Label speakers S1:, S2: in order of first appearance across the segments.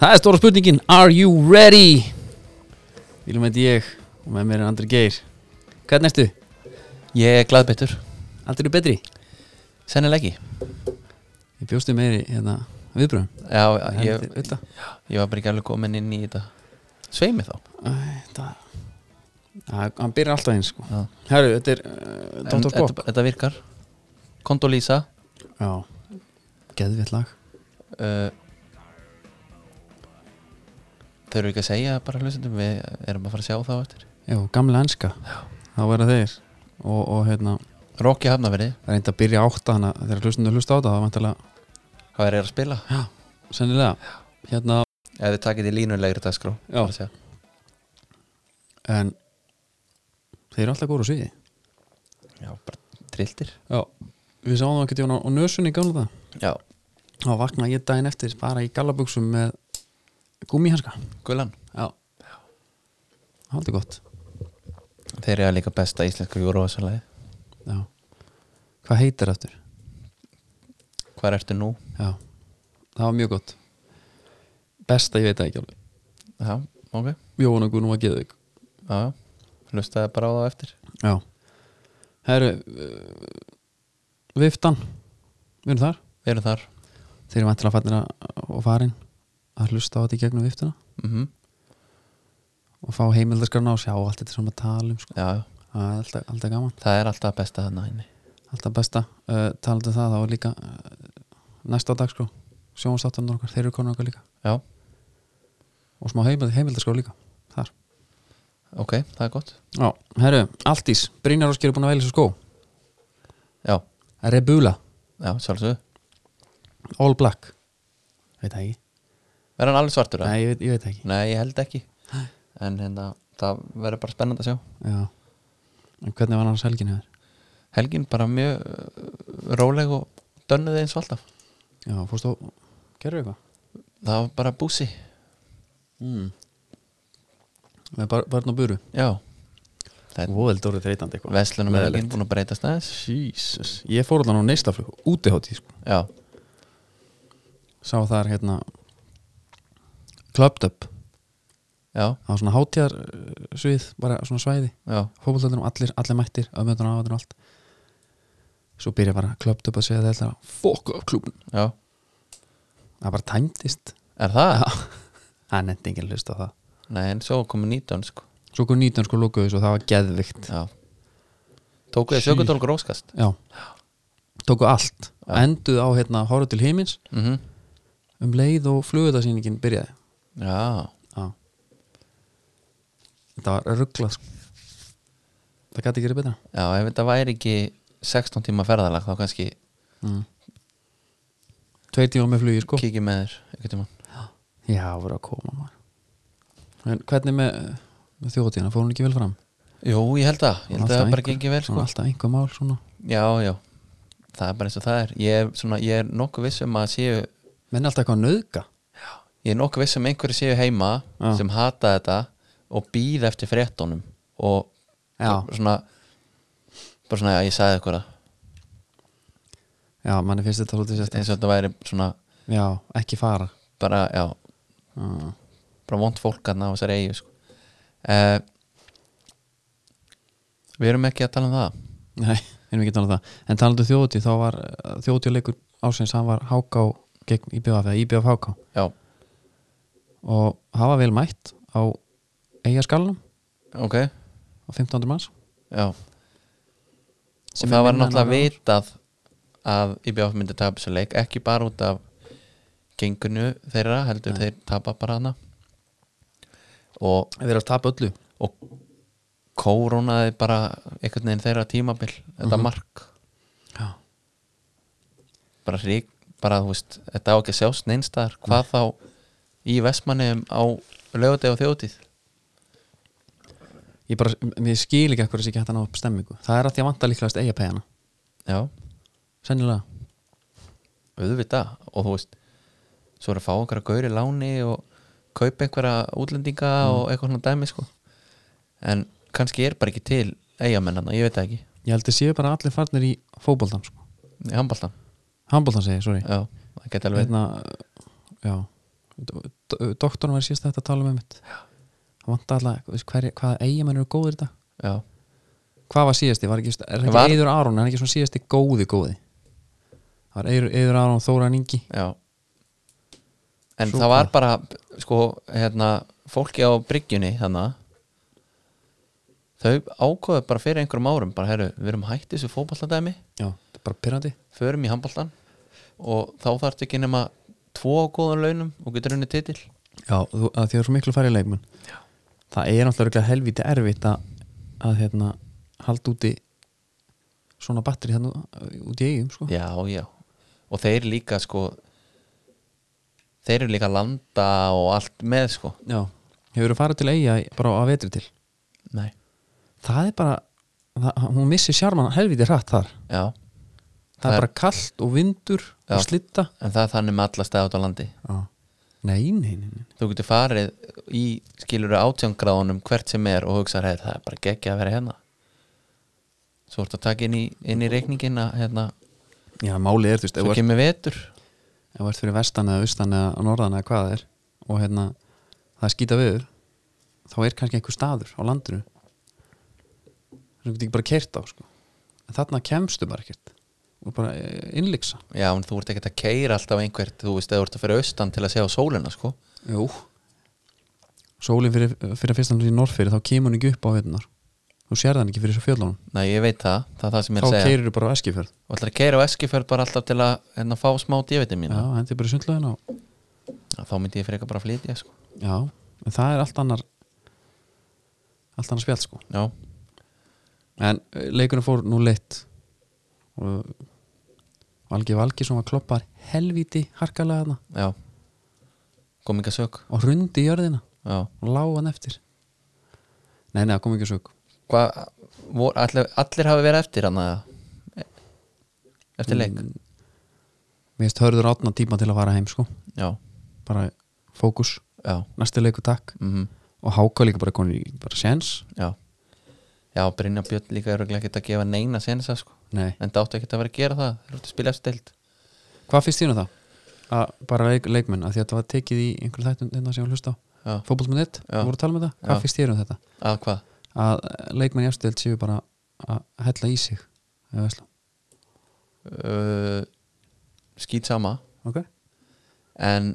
S1: Það er stóra spurningin Are you ready? Vilum veit ég og með mér er Andri Geir Hvernig ertu?
S2: Ég er glaðbyttur,
S1: Aldrei betri?
S2: sennileg ekki
S1: Ég bjóstu meiri hérna viðbröðum
S2: Já, ég,
S1: Heldur, auðvitað.
S2: ég var bara ekki alveg komin inn í þetta Sveimi þá
S1: Æ, Það Það- Hann byrjar alltaf eins sko
S2: Já.
S1: Herru, þetta er uh,
S2: En
S1: Dr. Bob
S2: Þetta, þetta virkar Kondolísa
S1: Já Geðvitt lag
S2: uh, Þau eru ekki að segja bara hlustendum Við erum að fara að sjá þá eftir
S1: Jú, gamla enska Þá verða þeir og, og hérna
S2: Rokki Hafnafyrði,
S1: reynda að byrja átta hana þegar hlustundu hlusta á þetta það var vantilega
S2: hvað er að spila?
S1: sennilega hérna
S2: Ef þið takið í línulegri dagskrá
S1: Já.
S2: að segja.
S1: en þeir eru alltaf góru á sviði
S2: Já, bara trilltir
S1: Já, við sáum það ekki tjóna og nösun í gamla það
S2: Já,
S1: þá vaknaði ég daginn eftir bara í gallabuxum með gúmihanska
S2: Guðlan
S1: Já Haldi gott
S2: Þeir eru líka besta íslenska júruvasalagi
S1: Já Hvað heitir aftur?
S2: Hvar ertu nú?
S1: Já Það var mjög gott Besta ég veit það ekki alveg
S2: Já, ok
S1: Jóhann og Gunnum var geðug
S2: Já, já Hlustaði bara á það eftir
S1: Já Herru uh, Viftan Við erum þar
S2: Við erum þar
S1: Þeir eru vantilega fannir og farin að hlusta á þetta í gegnum viftuna
S2: mm
S1: og fá heimildaskarna og sjá allt þetta sem að tala um sko.
S2: Já, já
S1: Það er alltaf, alltaf gaman
S2: Það er alltaf besta þarna inni
S1: Alltaf besta uh, talandi um það, þá er líka uh, næsta dag sko, sjónastáttanur okkar þeir eru konar okkar líka
S2: Já,
S1: og smá heimild, heimildarskrá líka þar.
S2: ok, það er gott
S1: Já, herru, Altís, Brynjar Óskir er búin að velja sér skó
S2: Já,
S1: Rebula,
S2: já, sjálfsög
S1: All Black veit það ekki?
S2: Er hann alveg svartur? eða?
S1: Nei, ég veit, ég veit það ekki
S2: Nei, ég held ekki En hérna, það verður bara spennandi að sjá
S1: Já, en hvernig var hann selgin hefur?
S2: Helgin bara mjög uh, róleg og dönnuði eins og alltaf
S1: Já, fórstu að gerðu eitthvað?
S2: Það var bara búsi
S1: Mm. Með bar, barn og buru
S2: Já, Það-
S1: Vóðeld orðið þreytandi
S2: veslunum er
S1: Leðilegt.
S2: helgin búin að breytast aðeins
S1: Jesus, ég fór allan á neistaflug útiháttíð sko
S2: Já,
S1: sá þar hérna Clubbed Up
S2: já,
S1: það var svona hátíðar uh, svið bara svona svæði,
S2: já,
S1: fótbolltöldunum allir allir mættir, öfmyndunum áhættur og allt svo byrja bara Clubbed Up að segja þetta fuck up klubun,
S2: já
S1: það bara tæmdist
S2: Er það?
S1: það nefndi enginn hlust á það
S2: Nei, en svo komið 19 sko
S1: svo kom 19 sko lókuðis og það var geðvikt
S2: Já Tókuði
S1: Sí.
S2: sjökundól gróskast
S1: já, tóku allt enduð á hérna horfðu til heimins
S2: mm
S1: um leið og flugutasýningin byrjaði
S2: Já,
S1: já þetta var rugglað sko það gæti ekki verið betra
S2: já, ef þetta væri ekki 16 tíma ferðalag þá kannski
S1: mm. Tveir tíma með flugi sko
S2: kíkjum með þér einhvern tímann
S1: Já, voru að koma maður En hvernig með, eh, með þjóðtíðina, fór hún ekki vel fram?
S2: Jú, ég held það, ég held að það bara gengið vel
S1: Hún
S2: sko.
S1: er alltaf einhver mál svona
S2: Já, já, það er bara eins og það er Ég er, svona, ég er nokkuð viss um að séu
S1: Menn er alltaf eitthvað að nöðga
S2: Ég er nokkuð viss um að einhverju séu heima
S1: Já.
S2: sem hata þetta og býð eftir fréttunum og
S1: Já.
S2: bara svona bara svona, já, ég sagði ykkur það
S1: Já, manni finnst þetta svolítið sérst
S2: eins og þetta væri svona
S1: Já, ekki fara
S2: bara, já,
S1: uh,
S2: bara vond fólk að ná þessari eigu sko. uh, Við erum ekki að tala um það
S1: Nei, erum ekki talað um það En talandi um þjóðtíð, þá var þjóðtíðleikur ásins, hann var háká gegn IBF eða IBF háká
S2: Já,
S1: og hafa vel mætt á eigaskalunum
S2: ok
S1: á 15. manns
S2: Já
S1: Sem
S2: Og það
S1: er
S2: var
S1: minna en
S2: náttúrulega
S1: annað ár.
S2: vitað að IBF myndi tapa þessu leik ekki bara út af gengunu þeirra heldur þeir tapa bara hana og,
S1: Við erum að tapa öllu
S2: og kórónaði bara einhvern veginn þeirra tímabil þetta
S1: Mhm.
S2: mark
S1: Já,
S2: bara hrík, bara þú veist þetta á ekki að sjást neinstaðar hvað þá í Vestmanniðum á lögudeg og þjótið
S1: Ég bara, mér skil ekki ekkur þessi ekki hægt að ná upp stemmingu Það er að því að vanta líklegast eigapæðana
S2: Já,
S1: Sennilega
S2: auðvitað og þú veist svo er að fá einhverja gauri láni og kaupa einhverja útlendinga
S1: Mm.
S2: og eitthvað svona dæmi sko en kannski er bara ekki til eigamennana, ég veit það ekki,
S1: Ég held að séu bara allir farnir í fótboltan sko.
S2: í handbóltan
S1: Handboltan segi, ég, sorry
S2: já, það geta alveg
S1: hérna, já Do- do- doktorinn var síðast þetta að tala um með mitt hann vant alltaf hver, hvaða eigamenn eru góðir í dag
S2: já,
S1: hvað var síðasti, var ekki, er það ekki
S2: Var-
S1: Eður Aron er hann ekki svona síðasti góði góði það var Eður, Eður Aron Þóran Ingi
S2: já en
S1: Svo
S2: það var bara sko, hérna, fólki á bryggjunni þannig þau ákveðu bara fyrir einhverjum árum bara, herru, við erum hætt þessu fótballadæmi
S1: já, þetta er bara pyrrandi
S2: förum í handbóltan og þá þarf ekki nema tvo á góðan launum og getur henni titil
S1: já, þú, að því það er svo miklu færri leikmenn já. það er náttúrulega örugglega helvíti erfitt að, að hérna, halda úti svona batteri þannig úti í eigum sko.
S2: já, já, og þeir líka sko þeir eru líka að landa og allt með sko
S1: já, hefur þú farið til eiga bara að vetri til
S2: nei,
S1: það er bara það, hún missir sjarman helviti hratt þar það,
S2: já, Það
S1: er
S2: er-
S1: bara kallt og vindur
S2: Já.
S1: og slitta
S2: en það er þannig með alla staði út á landi
S1: nei, nei, nei, nei.
S2: þú getur farið í skiluru átjángráðunum hvert sem er og hugsa hey, það er bara geggja að vera hérna svo ertu að taka inn í, inn í reikningina hérna,
S1: já, málið er, þú veist, ef
S2: svo
S1: þú ert-
S2: kemur vetur
S1: ef þú ert fyrir vestan eða austan eða norðan eða hvað það er og hérna, það er skýta viður þá er kannski einhver staður á landinu sem þú getur ekki bara kert á sko. en þarna kemstu bara ekkert og bara eh, innlyksa
S2: já, en þú ert ekkert að keira alltaf einhvert þú veist, eða þú ert að fyrir austan til að sjá sólina sko.
S1: Jú Sólin fyrir, fyrir að fyrsta hann í norfyrir þá kemur hann ekki upp á veitunar þú sér hann ekki fyrir þessu fjöllunum
S2: Nei, ég veit það, það er það sem ég er
S1: þá
S2: að segja
S1: keirir þú bara á Eskifjörð
S2: og ætlar að keira á Eskifjörð bara alltaf til að hérna, fá smá dívitin mín
S1: já, hendi bara í sundlaugina og
S2: þá myndi ég frekar bara að flytja sko.
S1: já, en það er allt annar allt annar spjall sko
S2: já,
S1: en eh, leikunum fór nú leitt og Valgi Valgi sem var kloppar helvíti harkalega þarna
S2: já kom ekki að sök
S1: og hrundi í jörðina
S2: já.
S1: og lág hann eftir nei, nei, það kom ekki að sög
S2: Hvað, vor, allir, allir hafi verið eftir hann
S1: Mm.
S2: eftir leik
S1: mér finnst hörður átna tíma til að fara heim sko
S2: já,
S1: bara fókus,
S2: já,
S1: næsti leiku takk
S2: mm
S1: og háka líka bara koni bara séns
S2: já já, Brynja Björn líka er örugglega ekkert að gefa neina sensa sko,
S1: nei,
S2: en það áttu ekkert að vera að gera það þeir eru út að spila eftir deild
S1: hvað finnst þínu það? Að bara leik, leikmenn, að því að þetta var tekið í einhverjum þættum þetta sem ég var að hlusta á
S2: já,
S1: fótbollsmennit,
S2: Já.
S1: þú voru að tala með það hvað
S2: Já.
S1: finnst þér um þetta?
S2: að hvað,
S1: Að eh, leikmenn í afstöld séu bara að hella í sig eða veisla.
S2: uh, skýt sama
S1: ok?
S2: en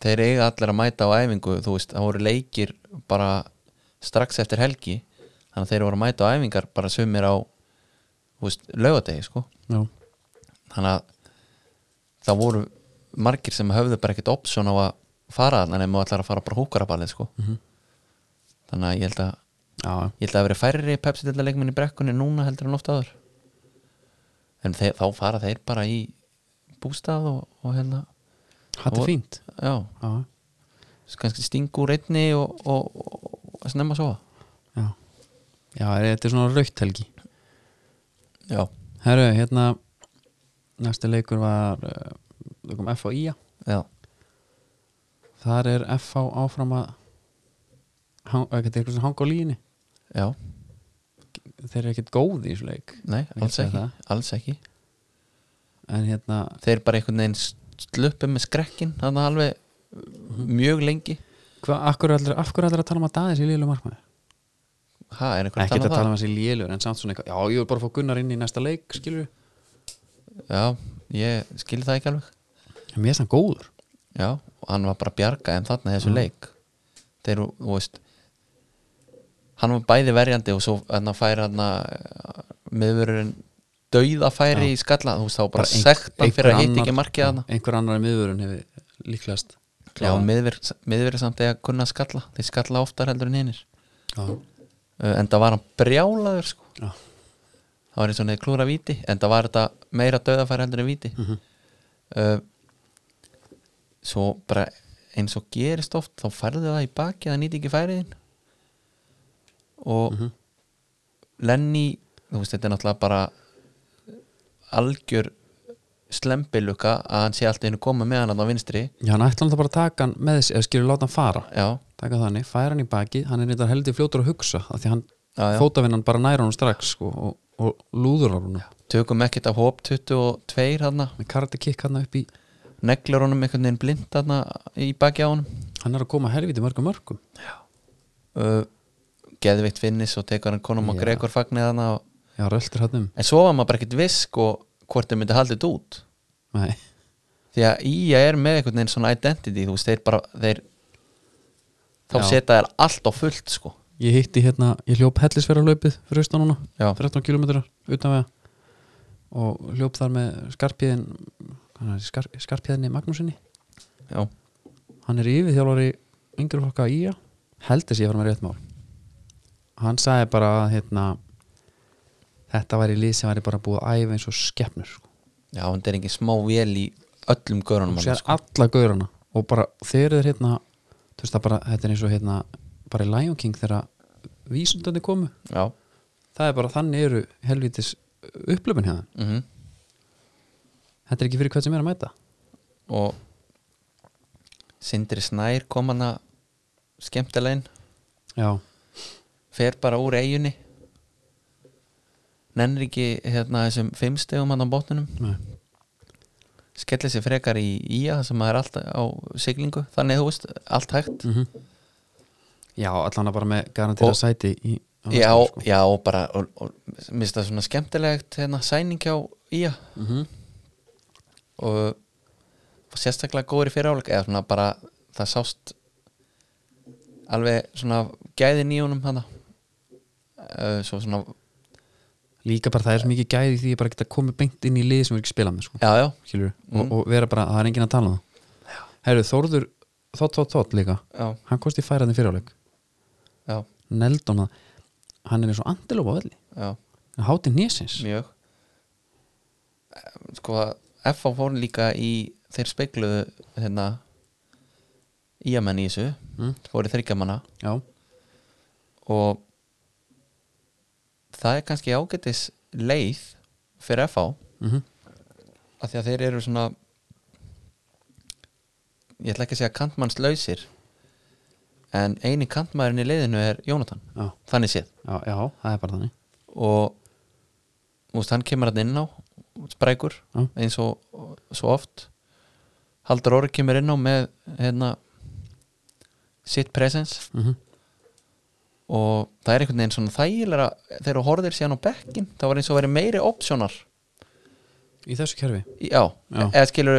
S2: þeir eiga allir að mæta á æfingu þú veist, það voru leikir bara strax eftir helgi þannig að þeir voru að mæta á æfingar bara sumir á þú veist, laugadegi sko
S1: Já.
S2: þannig að það voru margir sem höfðu bara ekkert option á að fara þannig að maður ætlar að fara bara húkaraballið sko
S1: Mhm.
S2: þannig að ég held að
S1: Já, já.
S2: ég held að það veri færri pepsi til í brekkunni núna heldur en oft áður en þeir, þá fara þeir bara í bústað og, og hérna,
S1: þetta
S2: Og-
S1: er fínt
S2: já
S1: já,
S2: Svo kannski stingu úr einni og, og, og, og snemma að sofa
S1: já. já, er- þetta er svona raukt helgi
S2: já,
S1: herru, hérna næsti leikur var uh, það kom F á Ía
S2: já,
S1: þar er F á áfram að hang- eða þetta er eitthvað sem hanga á líginni
S2: já,
S1: þeir eru ekkert góði í þessu leik
S2: nei,
S1: Ég
S2: alls
S1: segi
S2: ekki,
S1: það.
S2: alls ekki
S1: en hérna,
S2: þeir bara einhvern veginn sluppu með skrekkin þannig alveg
S1: Mhm.
S2: mjög lengi
S1: hva, akkur allir, af hverju allir að tala um að Daðis í liðlu markmaði?
S2: ha, er einhvern
S1: ekkert að tala
S2: um
S1: um að sé liðlu en samt svona eitthvað, já, ég vil bara fá Gunnar inn í næsta leik skilur
S2: það já, ég skil það ekki alveg
S1: En mér er það góður
S2: já, og hann var bara að bjarga en þarna í þessu
S1: Mhm.
S2: leik þeir, eru, þú veist hann var bæði verjandi og svo hann færi hann meðverurinn dauðafæri í skalla, þú veist þá var bara
S1: ein-
S2: sektan fyrir
S1: einhver
S2: að hitta
S1: annar-
S2: ekki markið hann
S1: einhver annar í miðvörun hefur líklegast
S2: Já, miðverið samt eða kunna að skalla þeir skalla oftar heldur en hinnir
S1: já,
S2: en það var hann brjálaður sko.
S1: já,
S2: það var eins og neður klúra víti en það var þetta meira döðafæri heldur en víti uh, svo bara eins og gerist oft þá færðu það í baki það nýti ekki færiðin og Lenny þú veist þetta er náttúrulega bara algjör slembiluka að hann sé alltaf einu koma með hann þarna á vinstri
S1: já, hann ætla hann það bara að taka hann með þessi eða skilur láta hann fara
S2: já,
S1: taka þannig, færa hann í baki, hann er eitthvað heldur fljótur að hugsa af því hann,
S2: já, já.
S1: fótavinnan bara næra hann strax sko, og, og lúður á hann
S2: tökum ekkert af hóp 22 hann
S1: með karate kick hann upp í
S2: neglur honum einhvern veginn blind hann í baki á honum
S1: hann er að koma helviti mörgum mörgum
S2: uh, geðveikt finnis og tekur hann konum og
S1: Já.
S2: Gregor fagnir hann og...
S1: já, röltir hann um
S2: en svo var maður bara ekkert viss sko, hvort þau myndi haldið þetta út
S1: Nei.
S2: því að Ía er með einhvern veginn svona identity þú veist, þeir bara þeir, þá
S1: Já.
S2: setja þær allt á fullt sko.
S1: ég hitti hérna, ég hljóp hellisfæra löpið fyrir austan núna
S2: já,
S1: 13 km utan vega og hljóp þar með skarpiðin hvað er, skar, skarpiðinni Magnúsinni
S2: já,
S1: hann er yfir þjálfari yngri flokka í að heldur sér ég var með rétt mál hann sagði bara að hérna, þetta væri lið sem væri bara búið að æfa eins og skepnur sko.
S2: já, en það er engin smá vel í öllum görunum
S1: og
S2: hann,
S1: sér
S2: sko.
S1: alla gaurana og bara þeir eru hérna þú veist það bara, þetta er eins og hérna bara í Lion King þegar vísundandi komu
S2: já,
S1: það er bara þannig eru helvitis upplöfun hérna
S2: mhm
S1: þetta er ekki fyrir hvað sem er að mæta
S2: og Sindri Snær kom hann að skemmtilegin,
S1: já,
S2: fer bara úr eiginni nennir ekki hérna þessum fimmstegum hann á bóttunum
S1: nei
S2: skellir sér frekar í ía sem maður er alltaf á siglingu þannig þú veist, allt hægt
S1: mm Já, allan að bara með garantera
S2: Og-
S1: sæti í, á næsta
S2: já,
S1: ári, sko.
S2: já, og bara og, og, minnst það svona skemmtilegt hérna sæning hjá ía
S1: Mhm.
S2: og, og sérstaklega góður í fyriráleik eða svona bara það sást alveg svona gæðin í honum hana uh, svo svona,
S1: Líka bara það er svo mikið gæði í því að bara geta komið beint inn í lið sem við ekki spila með sko.
S2: já, já
S1: Skilur,
S2: Mm.
S1: og, og vera bara, það er enginn að tala um það Herru, Þórður Þótt, Þótt, Þótt líka
S2: já,
S1: Hann kosti færaðin fyrirháleik
S2: já,
S1: Neldon að hann er eins og andilóf á velli
S2: já,
S1: Hann hátir nýsins
S2: mjög Eh, sko F.A. fór líka í þeir speikluðu hérna íamenn í þessu
S1: Mm.
S2: fóru þryggjamanna
S1: Já,
S2: og það er kannski ágætis leið fyrir F.A.
S1: mm
S2: af því að þeir eru svona ég ætla ekki að segja kantmannslausir en eini kantmaðurinn í leiðinu er Jónatan,
S1: já,
S2: þannig séð
S1: já, já, það er bara þannig
S2: og múst, hann kemur hann inn á sprækur
S1: Já.
S2: eins og svo oft Haldur Orri kemur inn á með hérna sitt presence
S1: mm -hmm.
S2: og það er einhvern veginn svona þægilega þegar þú horfir síðan á bekkin þá var eins og verið meiri opsjónar
S1: Í þessu kerfi
S2: já,
S1: Já.
S2: eða skilur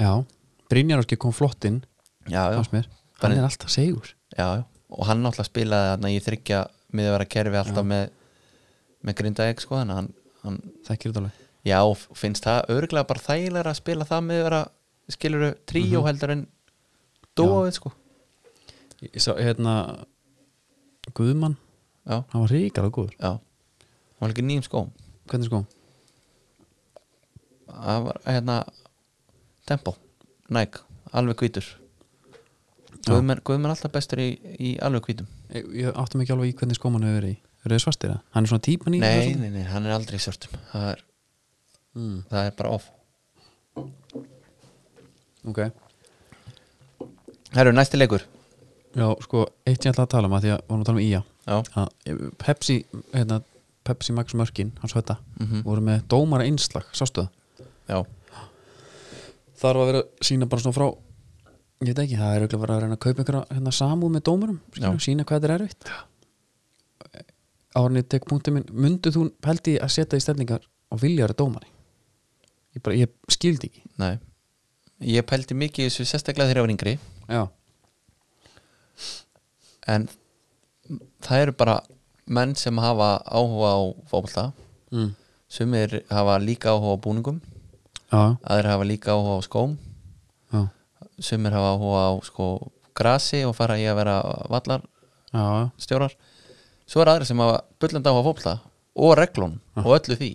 S1: Já, Brynjar Áski kom flott inn
S2: já, já,
S1: fannst mér. Hann
S2: Bara-
S1: er alltaf segur
S2: já, já. og hann náttúrulega spilaði þarna í þryggja miðvara kerfi alltaf með, með Grindavík sko, þannig að hann, hann
S1: Þekkir þetta alveg
S2: Já, f- finnst það örgulega bara þægilega að spila það með vera skiluru tríó
S1: Mhm.
S2: heldur en dóið sko
S1: Ég sá, hérna Guðmann,
S2: Já,
S1: hann var ríkalega góður
S2: já Hún var ekki nýjum skóm
S1: Hvernig sko?
S2: Það var hérna Tempo, Nike, alveg hvítur
S1: Já.
S2: Guðmenn Guðmen alltaf bestur í, í alveg hvítum
S1: Ég, ég áttum ekki alveg í hvernig skóm hann hefur verið í Eru þið svartir það? Hann er svona típan í
S2: nei,
S1: þessu?
S2: nei, nei, hann er aldrei í svörtum Það er,
S1: mm,
S2: það er bara off
S1: Ok
S2: Herru, næsti leikur
S1: Já, sko, eitt ég ætla að tala um að því að vorum að tala um IA
S2: Já,
S1: að eh, Pepsi, hérna, Pepsi Max Mörkin, hans hötta
S2: Mhm.
S1: voru með dómara einslag, sástu það?
S2: já,
S1: Þar var að vera að sína bara svona frá ég veit ekki, það er auðvitað bara að reyna að kaupa einhverja hérna, samúð með dómurum, skilur,
S2: Já.
S1: sína hvað þetta er erfitt Árnið tek punktið minn mundu þú pældi að setja í stelningar og vilja vera dómari ég bara, ég skildi ekki
S2: nei Ég pældi mikið í þessu sérstaklega þegar ég var yngri
S1: Já,
S2: en það eru bara menn sem hafa áhuga á fótbolta
S1: mm.
S2: sumir hafa líka áhuga á búningum
S1: já,
S2: aðrir hafa líka áhuga á skóm
S1: já,
S2: sumir hafa áhuga á sko grasi og fara í að vera vallarstjórar
S1: já,
S2: svo eru aðrir sem hafa bullandi áhuga á fótbolta og reglun og öllu því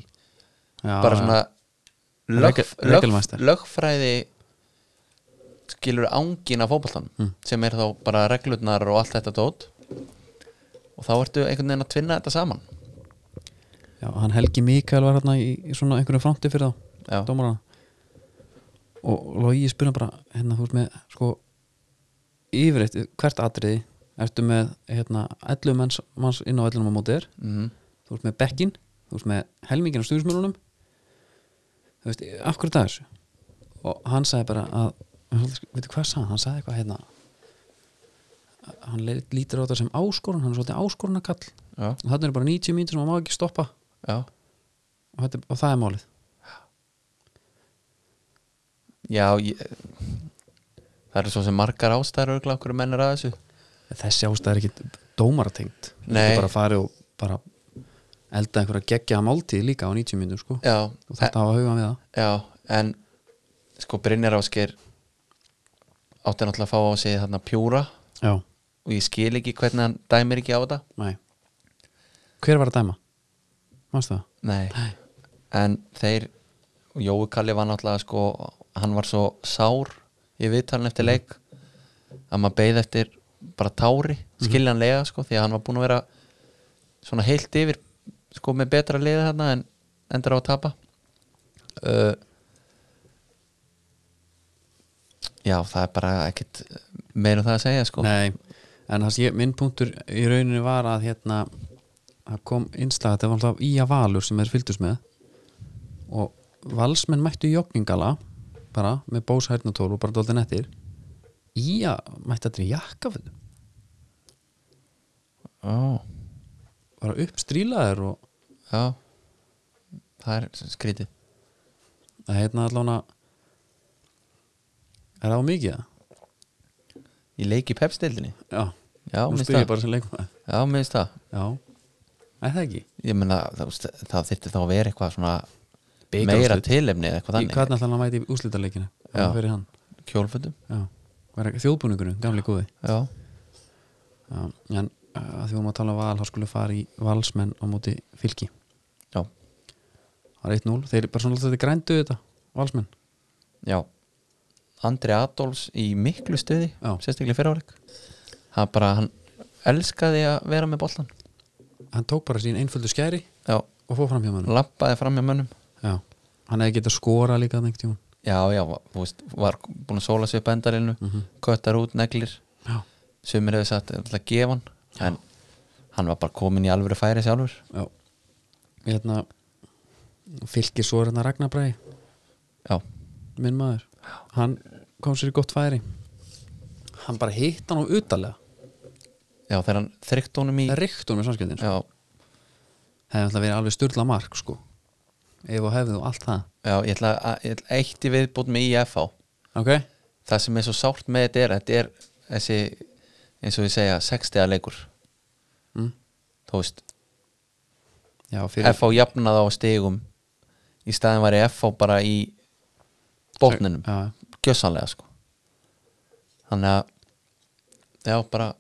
S1: Ah. já
S2: bara svona lög,
S1: Regl-
S2: lög,
S1: regelmeistari.
S2: lögfræði skilur ángin af fótboltan
S1: Mm.
S2: sem er þá bara reglurnar og allt þetta dót og þá ertu einhvern veginn að tvinna þetta saman
S1: já, hann Helgi Mikael var hérna í, í svona einhverjum fronti fyrir þá
S2: já,
S1: dómarana og Lógi spurði hann bara hérna þú veist með sko yfirleitt hvert atriði ertu með hérna 11 manns, manns inn á vellinum á móti þér
S2: mhm,
S1: þú veist með bekkin þú veist með helmingin á stjúrismjörnunum þú veist akkur það þessu og hann sagði bara að veitu hvað sagði hann, hann sagði eitthvað hérna hann leit- lítur á þetta sem áskorun hann er svolítið áskorunarkall
S2: já,
S1: og þarna eru bara 90 mínútur sem hann má ekki stoppa
S2: já
S1: og, þetta, og það er málið
S2: Já, ég, það eru svo sem margar ástæður örgla okkur menn er að þessu
S1: þessi ástæð er ekki dómaratengt
S2: Nei.
S1: bara farið og bara elda einhverja geggja máltíð líka á 90 minnum sko.
S2: Já,
S1: og
S2: e,
S1: þetta hafa hugan við það
S2: já en sko Brynjar Ásgeir átti náttúrulega að fá á sig þarna pjúra
S1: já,
S2: og ég skil ekki hvernig hann dæmir ekki á þetta
S1: nei hver var að dæma? mannstu það?
S2: Nei,
S1: Nei.
S2: en þeir og Jói Kalli var náttúrulega sko hann var svo sár í viðtalin eftir leik að maður beið eftir bara tári
S1: Mhm.
S2: skiljanlega sko því að hann var búin að vera svona heilt yfir sko með betra liða þarna en endur á að tapa uh, Já, það er bara ekkit meir um það að segja sko
S1: Nei, en það sé minn punktur í rauninu var að hérna það kom innslag, þetta var alltaf í að valur sem þeir fylgdust með og valsmenn mættu í jogningala bara með bós hærnatól og bara dóldi nettir í að mættu þetta í jakkafötum
S2: Ó,
S1: bara uppstrílaðir og
S2: Já Það er skrítið
S1: að hérna allána er það á mikið eða?
S2: Í leik í pepstildinni
S1: já,
S2: Já,
S1: nú
S2: minnst
S1: spyr
S2: það
S1: ég bara sem leikmaður
S2: Já, minnst það
S1: já, er það ekki
S2: Ég meina, það, það þyrfti þá að vera eitthvað svona
S1: Bikarúrslit.
S2: meira tilefni eða eitthvað
S1: Þannig.
S2: þannig
S1: hvernig ætlar hann að mæti í úslitaðleikinu
S2: Já.
S1: fyrir hann
S2: Kjólfötum
S1: já. Var ekki- þjóðbúningunum, gamli góði
S2: Já,
S1: já. en uh, að því vorum að tala um val þá skulle fara í valsmenn á móti fylki
S2: já,
S1: það er 1-0, þeir bara svona alltaf þetta grændu þetta valsmenn,
S2: já Andri Adolfs í miklu stuði
S1: Já.
S2: sérstaklega fyrir áleik hann bara, hann elskaði að vera með boltan
S1: hann tók bara sín einföldu skæri
S2: Já,
S1: og fór fram hjá mönnum
S2: lappaði fram hjá mönnum
S1: já. hann hefði getað skora líka þannig tíma
S2: Já, já, þú veist, var búin að sóla sig upp endarilnu
S1: Mhm.
S2: köttar út neglir
S1: já,
S2: sumir hefur sagt alltaf gefa hann en hann var bara komin í alvöru færi sjálfur
S1: já hérna, fylki svo er hérna Ragnar Bræði
S2: Já,
S1: minn maður hann kom sér í gott færi hann bara hitt hann á utalega
S2: já, þegar hann þrygt honum í
S1: það ríkt hún með samskjöndin sko.
S2: Já,
S1: hefði alltaf verið alveg sturla mark sko. ef og hefði og allt það
S2: Já, ég ætla að ég ætla eitt í viðbútt með IFH
S1: ok,
S2: Það sem er svo sárt með þetta er þetta er þessi, eins og ég segja, sextiða leikur
S1: Mm.
S2: Þú veist,
S1: já, fyrir,
S2: FH jafnaði á stigum í staðin var ég FH bara í botninum,
S1: já,
S2: gjössanlega sko Þannig að Já, bara,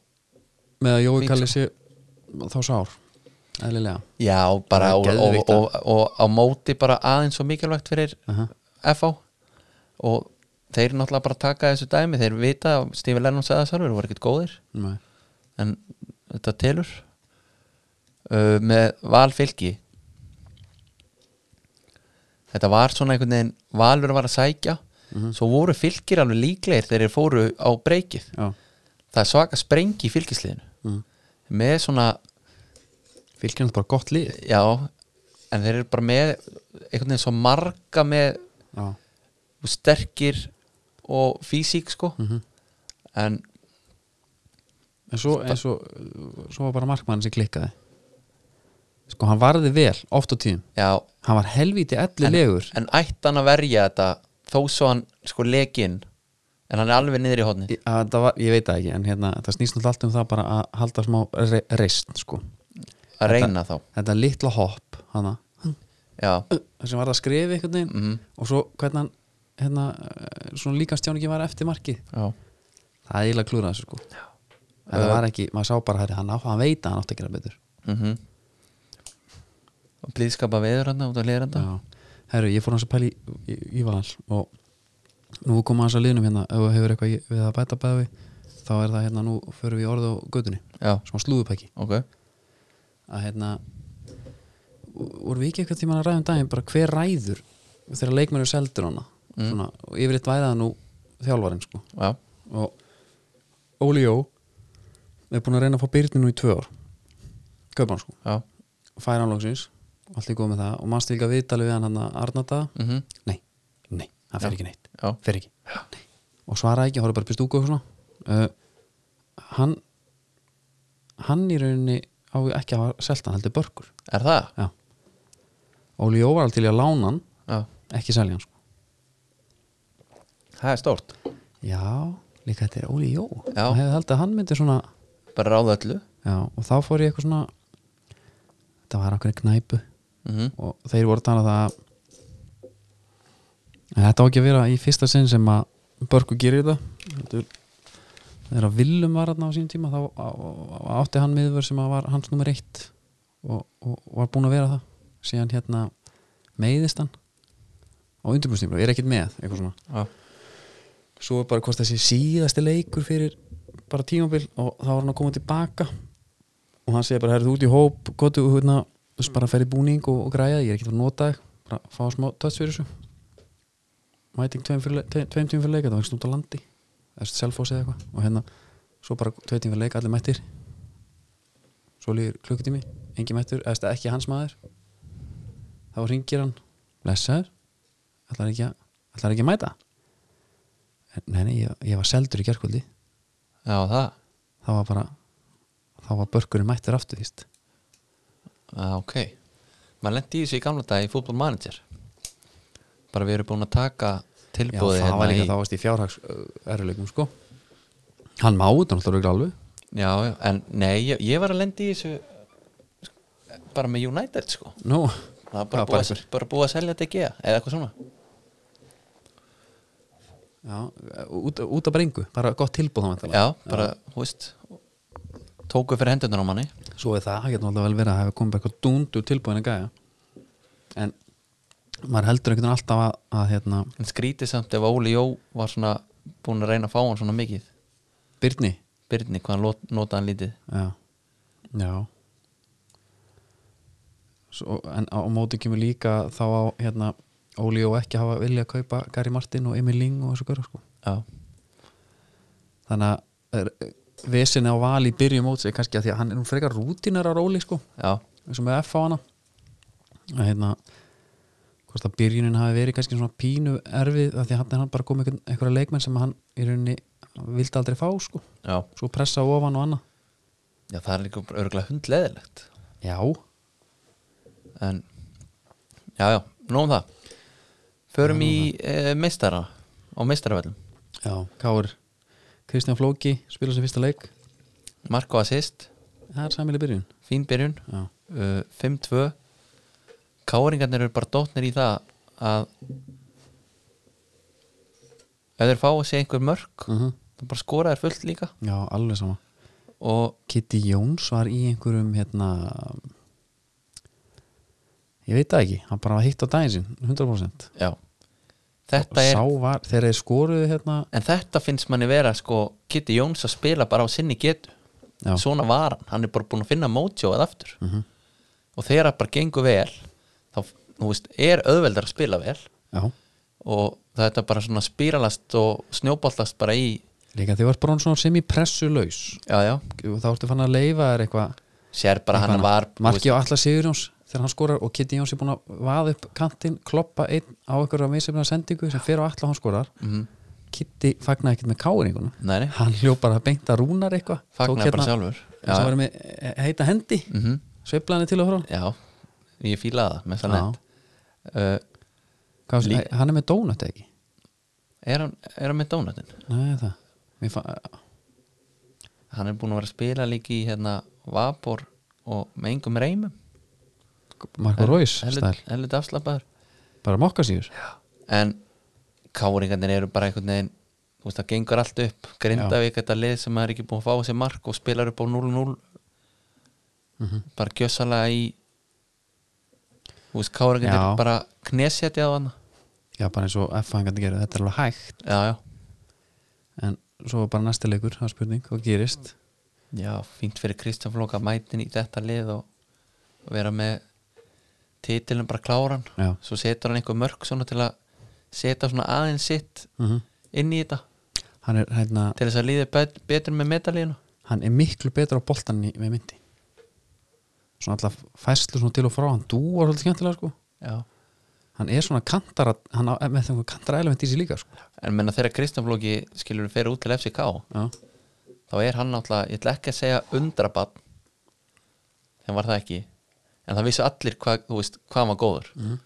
S1: með að Jói
S2: Fínt,
S1: kalli sér þá sár eðlilega
S2: já, bara
S1: Það er
S2: og, og,
S1: geðveikt að-
S2: og, og á móti bara aðeins svo mikilvægt fyrir
S1: uh
S2: FH og þeir náttúrulega bara taka þessu dæmi þeir vita að Stífi Lennon sagði það sjálfur voru ekkert góðir
S1: -huh.
S2: en þetta telur uh, með valfylki þetta var svona einhvern veginn valur var að sækja
S1: Mhm.
S2: svo voru fylkir alveg líklegir þegar þeir fóru á breykið
S1: já,
S2: það er svaka sprengi í fylkisliðinu
S1: Mhm.
S2: með svona
S1: fylgir hann bara gott lið
S2: já en þeir eru bara með einhvern veginn svo marga með
S1: já,
S2: og sterkir og físík sko en
S1: en svo, en svo svo var bara markmann sem klikkaði sko, hann varði vel oft á tíðum,
S2: já,
S1: hann var helvíti ellilegur
S2: en ætti hann að verja þetta þó svo hann sko lekin en hann er alveg niður í hodni
S1: Ég- að þetta var, ég veit það ekki en hérna, það snýst náttúrulega allt um það bara að halda smá re reist sko.
S2: að reyna þá
S1: þetta litla hopp hana,
S2: já,
S1: það sem var að skrifa einhvern veginn
S2: mm,
S1: og svo hvernig hann hérna, eh, svona líka stjáningi var eftir markið
S2: já.
S1: það er eiginlega klúrað þessu sko en það var ekki, maður sá bara hæri hann á hann veit að hann átti að gera betur
S2: Mm og blíðskapa veður hann út af leiranda já.
S1: herru, ég fór hans að pæli í, í, í val og nú komum hans að liðnum hérna ef þú hefur eitthvað í- við að bæta bæði við þá er það hérna, nú förum við í orð og götunni
S2: já,
S1: smá slúðupæki
S2: ok
S1: að hérna vorum við ekki eitthvað tíma að ræða um daginn bara hver ræður þegar leikmenn er seldur hana svona, og yfirleitt væðaða nú þjálfarinn sko
S2: já,
S1: og Óli Jó er búin að reyna að fá Birni nú í tvö ár kaupa hann sko,
S2: já
S1: færa hann lóksins allt í góð með það og mannst líka viðtalið við hann hann að Arnata
S2: mm
S1: nei, nei, hann fer ekki neitt
S2: já,
S1: fer ekki Nei. og svaraði ekki, horfði bara upp í stúku og svona uh, hann hann í rauninni á ekki að hafa selt hann heldur börkur
S2: er það?
S1: já Óli Jó var alveg til í að lána hann
S2: Já,
S1: ekki selja hann sko
S2: það er stórt
S1: já, líka þetta er Óli Jó
S2: Já.
S1: hann hefði held að hann myndi svona
S2: bara ráða öllu
S1: já, og þá fór ég eitthvað svona þetta var okkur knæpu
S2: mm
S1: og þeir voru að tala um það að En þetta á ekki að vera í fyrsta sinn sem að Börku gerir þetta Heldur, þegar að Willum var þarna á sínum tíma þá á- á- átti hann miðvör sem að var hans nummer eitt og, og var búin að vera það síðan hérna meiðist hann á undirbúrstíma, er ekkert með eitthvað svona
S2: já,
S1: svo er bara hvort þessi síðasti leikur fyrir bara tímabil og þá var hann að koma tilbaka og hann segir bara, herrðu út í hóp gott, þú hérna, þú veist bara ferði búning og, og græja, þig, ég er ekkert að nota þig bara fá smá tötts fyrir þessu mæting tveim, fyrir, le- tveim, tveim tímum fyrir leika það var ekki stúnt á landi, eða selfos eða eitthvað og hérna, svo bara tveim tímum fyrir leika allir mættir svo líður klukkutími, engin mættur eða þú veist, ekki hans maður þá ringir hann, blessaður ætlar ekki, að- ætlar ekki að mæta Nei, nei, ég, ég var seldur í gerkvöldi
S2: já, það
S1: þá var bara þá var börkurinn mættur aftur víst
S2: já, Ah, ok maður lendi í þessu í gamla dag í fútbol manager bara við erum búin að taka hérna
S1: Já,
S2: tilbúði
S1: það var líka þá varst í fjárhags eruleikum sko Hann má þetta náttúrulega örugglega alveg
S2: já, já, en nei, ég, ég var að lendi í þessu bara með United sko
S1: Nú,
S2: það var
S1: Já,
S2: bara,
S1: bara
S2: búið, að, bara búið að selja DG eða eitthvað svona
S1: já, út, út af brengu bara gott tilbúð þá væntanlega.
S2: já, bara, þú veist tóku fyrir hendunar á manni
S1: Svo er það, það getur náttúrulega vel verið að hafa komið bara eitthvað dúndu tilbúðin að gæja En maður heldur einhvern veginn alltaf að, að hérna,
S2: en skrítið samt ef Óli Jó var svona búin að reyna að fá hann svona mikið
S1: Byrni
S2: Byrni, hvað hann lot- notaði hann lítið
S1: Já, já. Svo, En á á móti kemur líka þá á hérna, Óli og ekki hafa vilja að kaupa Gary Martin og Emil Ling og þessu gaur sko.
S2: já,
S1: Þannig að er, vesinni á val í byrju móts er kannski að því að hann er nú frekar rútinar á Óli sko,
S2: já,
S1: eins og með F á hana að hérna hvort að byrjunin hafi verið kannski svona pínu erfið af því að hann er hann bara komið einhver- einhverja leikmenn sem hann í rauninni vildi aldrei fá sko,
S2: já,
S1: svo pressa ofan og annað
S2: já það er líka örgulega hundleðilegt
S1: Já,
S2: en, já, já, nóðum það förum í e, meistara á meistaravellum
S1: Já, Káur Kristján Flóki spila sem fyrsta leik
S2: Marko assist,
S1: Það er samileg byrjun
S2: fín byrjun
S1: Já,
S2: uh, 5-2 Káringarnir eru bara dótnir í það að ef þeir fá að segja einhver mörg
S1: uh
S2: þá bara skora þeir fullt líka
S1: Já alveg sama
S2: og
S1: Kitty Jóns var í einhverjum hérna Ég veit það ekki, hann bara var hitt á daginn sinn 100%
S2: já þetta er,
S1: Sá var, þegar þeir skoruðu hérna
S2: en þetta finnst manni vera sko Kitty Jóns að spila bara á sinni getu
S1: Já,
S2: svona var hann, hann er bara búin að finna mótsjóð aftur
S1: Mhm.
S2: og þegar það bara gengur vel þá, þú veist, er auðveldar að spila vel
S1: já
S2: og þetta bara svona spíralast og snjóballast bara í
S1: Líka því var Bronsson sem í pressu laus
S2: já, já,
S1: Þá ertu fann að leifa þér eitthvað
S2: sér bara hann
S1: Eitthvað
S2: var
S1: annað. Marki á alla Sigurjóns þegar hann skorar og Kitty Jóns er búin að vaða upp kantinn, kloppa einn á einhverja misefna sendingu sem fer á alla og hann skorar
S2: mm,
S1: Kitty fagnaði ekkert með káringuna
S2: nei, nei,
S1: hann hljóð bara beint að rúnar eitthvað hérna-
S2: fagnaði bara sjálfur
S1: sem
S2: já,
S1: var með eh, heita hendi
S2: mm
S1: sveiflaði til og frá
S2: já, ég fílaði það með
S1: Já.
S2: það nett uh,
S1: Hvað,
S2: Lí-
S1: eh, hann er með donut eða ekki
S2: er, hann, er hann með dónatin?
S1: Nei, það Mér fa...
S2: hann er búin að vera að spila líka í hérna Vapor og með engum reymum
S1: Marko Róis stæl
S2: helviti afslappaður
S1: bara mokka síður
S2: en káringarnir eru bara einhvern veginn þú veist það gengur allt upp Grindavík þetta lið sem maður er ekki búin að fá á sér mark og spilar upp á 0-0 bara gjössalega í þú veist
S1: Já.
S2: káringarnir bara knessetja á hana
S1: Já, bara eins og F-fangandi gerir þetta er alveg hægt
S2: já já,
S1: en svo var bara næsti leikur það var spurning og gerist
S2: já fínt fyrir Kristján Flóka mætin í þetta lið og og vera með titilin bara kláran
S1: já,
S2: svo setur hann einhver mörg svona til að setja svona aðeins sitt
S1: mm
S2: inn í þetta
S1: hann er hérna
S2: til þess að líði bet- betur með medalíuna
S1: hann er miklu betur á boltan í, við myndi svona alltaf fæslu svona til og frá hann dúar svolítið skemmtilega sko
S2: já.
S1: hann er svona kantara hann á, með þeim kantara element í sér líka sko
S2: en menna þegar Kristján Flóki skilur fyrir út til FCK
S1: já,
S2: þá er hann náttúrulega, ég ætla ekki að segja undrabann þeim var það ekki en það vissu allir hvað, þú veist, hvað hann var góður
S1: Mhm.
S2: mm.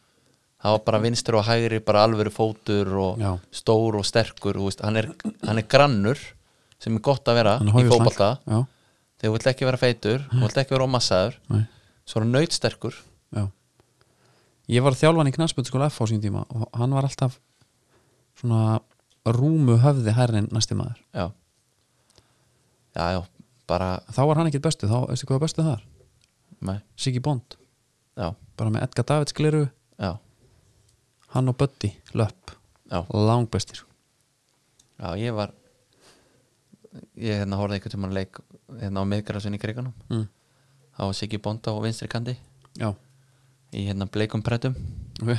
S2: það var bara vinstur og hægri bara alvöru fótur og
S1: Já.
S2: stór og sterkur þú veist, hann, er, hann er grannur sem er gott að vera
S1: hann
S2: í
S1: er hófið
S2: fótbolta
S1: já,
S2: þegar þú vilt ekki vera feitur, þú vilt ekki vera ómassaður
S1: nei,
S2: svo er hann nautsterkur
S1: já ég var þjálfan í knarspöld sko F á sín tíma og hann var alltaf svona rúmu höfði hærri en næsti maður
S2: já, já, já bara,
S1: þá var hann ekkert bestu, þá veistu hvað var bestu þar
S2: nei,
S1: Siggy Bond,
S2: já,
S1: bara með Edgar Davids gleru
S2: já
S1: hann og Buddy, löpp
S2: Já.
S1: langbestir
S2: Já, ég var ég hérna horfði einhvern tímann leik hérna á miðgræsvinni í kriganum
S1: mm.
S2: þá var Siggi Bonda á vinstri kandi
S1: já,
S2: í hérna bleikum prætum
S1: ok,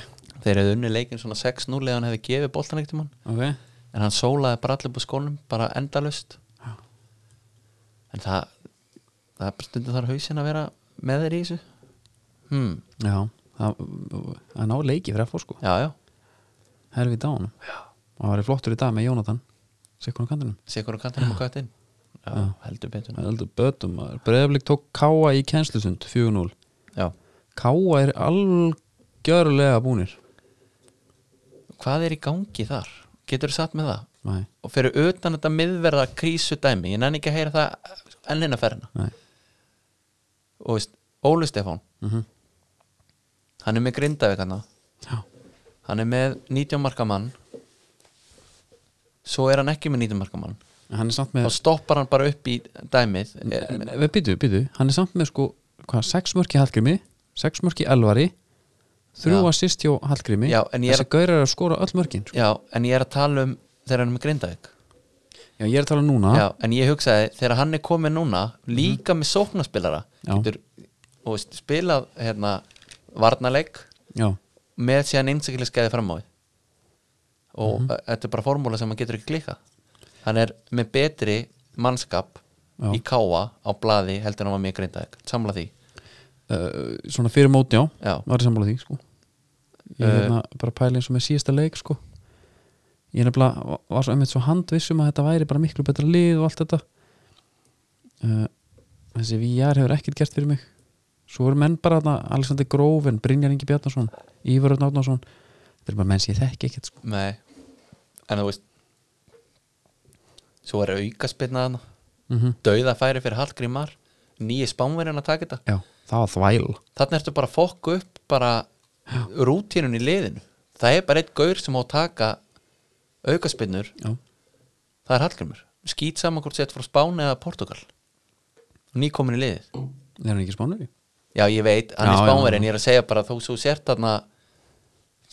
S2: þeir hefðu unni leikin svona 6-0 eða hann hefði gefið boltan einhvern tímann
S1: ok
S2: en hann sólaði bara allir búið skónum bara endalust
S1: Já.
S2: en það það er bara stundum þar hausin að vera með þeir í þessu hmm,
S1: Já, það, það ná leiki fyrir að fór sko
S2: já, já,
S1: Herfið dánum Og það var flottur í dag með Jónatan Sikkunum kantinum
S2: sigur og kantinum og kvættin já, já, heldur betur
S1: Það er aldrei Bötum Breiðablik tók Káa í kennslusund 4-0
S2: já.
S1: Káa er algjörlega búnir
S2: hvað er í gangi þar? getur þú satt með það?
S1: Nei,
S2: og fyrir utan þetta miðverða krísu dæmi ég nenni ekki að heyra það enn eina ferðina
S1: nei
S2: og veist, Óli Stefán,
S1: mm
S2: hann er með Grindavík hann
S1: Já,
S2: hann er með 19 marka mann svo er hann ekki með 19 marka mann
S1: En hann er samt
S2: þá
S1: með
S2: stoppar hann bara upp í dæmið Eh,
S1: Við býtu, býtu Hann er samt með sko Hvað, sex mörki Hallgrími Sex mörki Elvari Þrjú
S2: Já.
S1: assist hjá Hallgrími
S2: Já, en ég er-
S1: Þessi gaurar eru að skora öll mörkin sko.
S2: já, en ég er að tala um þegar hann er með Grindavík
S1: Já, ég er að tala um núna
S2: já, en ég hugsaði þegar hann er komið núna líka með sóknarspilara
S1: Já.
S2: getur og veist, spilað hérna, varnarleik
S1: Já,
S2: með síðan einsaklega skeiði fram á við og mm þetta er bara formúla sem hann getur ekki klika hann er með betri mannskap
S1: Já.
S2: í káa á blaði heldur en hann var mjög grindaðik samla því
S1: uh, svona fyrir móti já,
S2: Já.
S1: var ég sammála því sko. ég
S2: Eh.
S1: hérna bara pæli eins og með síðasta leik sko. ég nefnilega var svo einmitt svo handvissum að þetta væri bara miklu betra lið og allt þetta uh, þessi VR hefur ekkert gert fyrir mig svo eru menn bara þarna Alexander Grófin, Brynjar Ingi Bjarnason Ívar Örn Átnason þetta er bara menn sem ég þekki ekkert sko.
S2: Nei. en þú veist svo er aukaspinnaðan
S1: mm
S2: dauða færi fyrir Hallgrímar nýji spánverjan að taka þetta
S1: já, það var þvæl
S2: þannig ertu bara að fokku upp bara rútínun í liðinu það er bara eitt gaur sem á að taka aukaspinnur
S1: já,
S2: það er Hallgrimur skýt saman hvort sett frá Spán eða Portugal nýkomin í liðið
S1: er hann ekki spánur í?
S2: já ég veit, hann
S1: Já,
S2: er
S1: já,
S2: Spánveri
S1: já.
S2: en ég er að segja bara þó svo sért þarna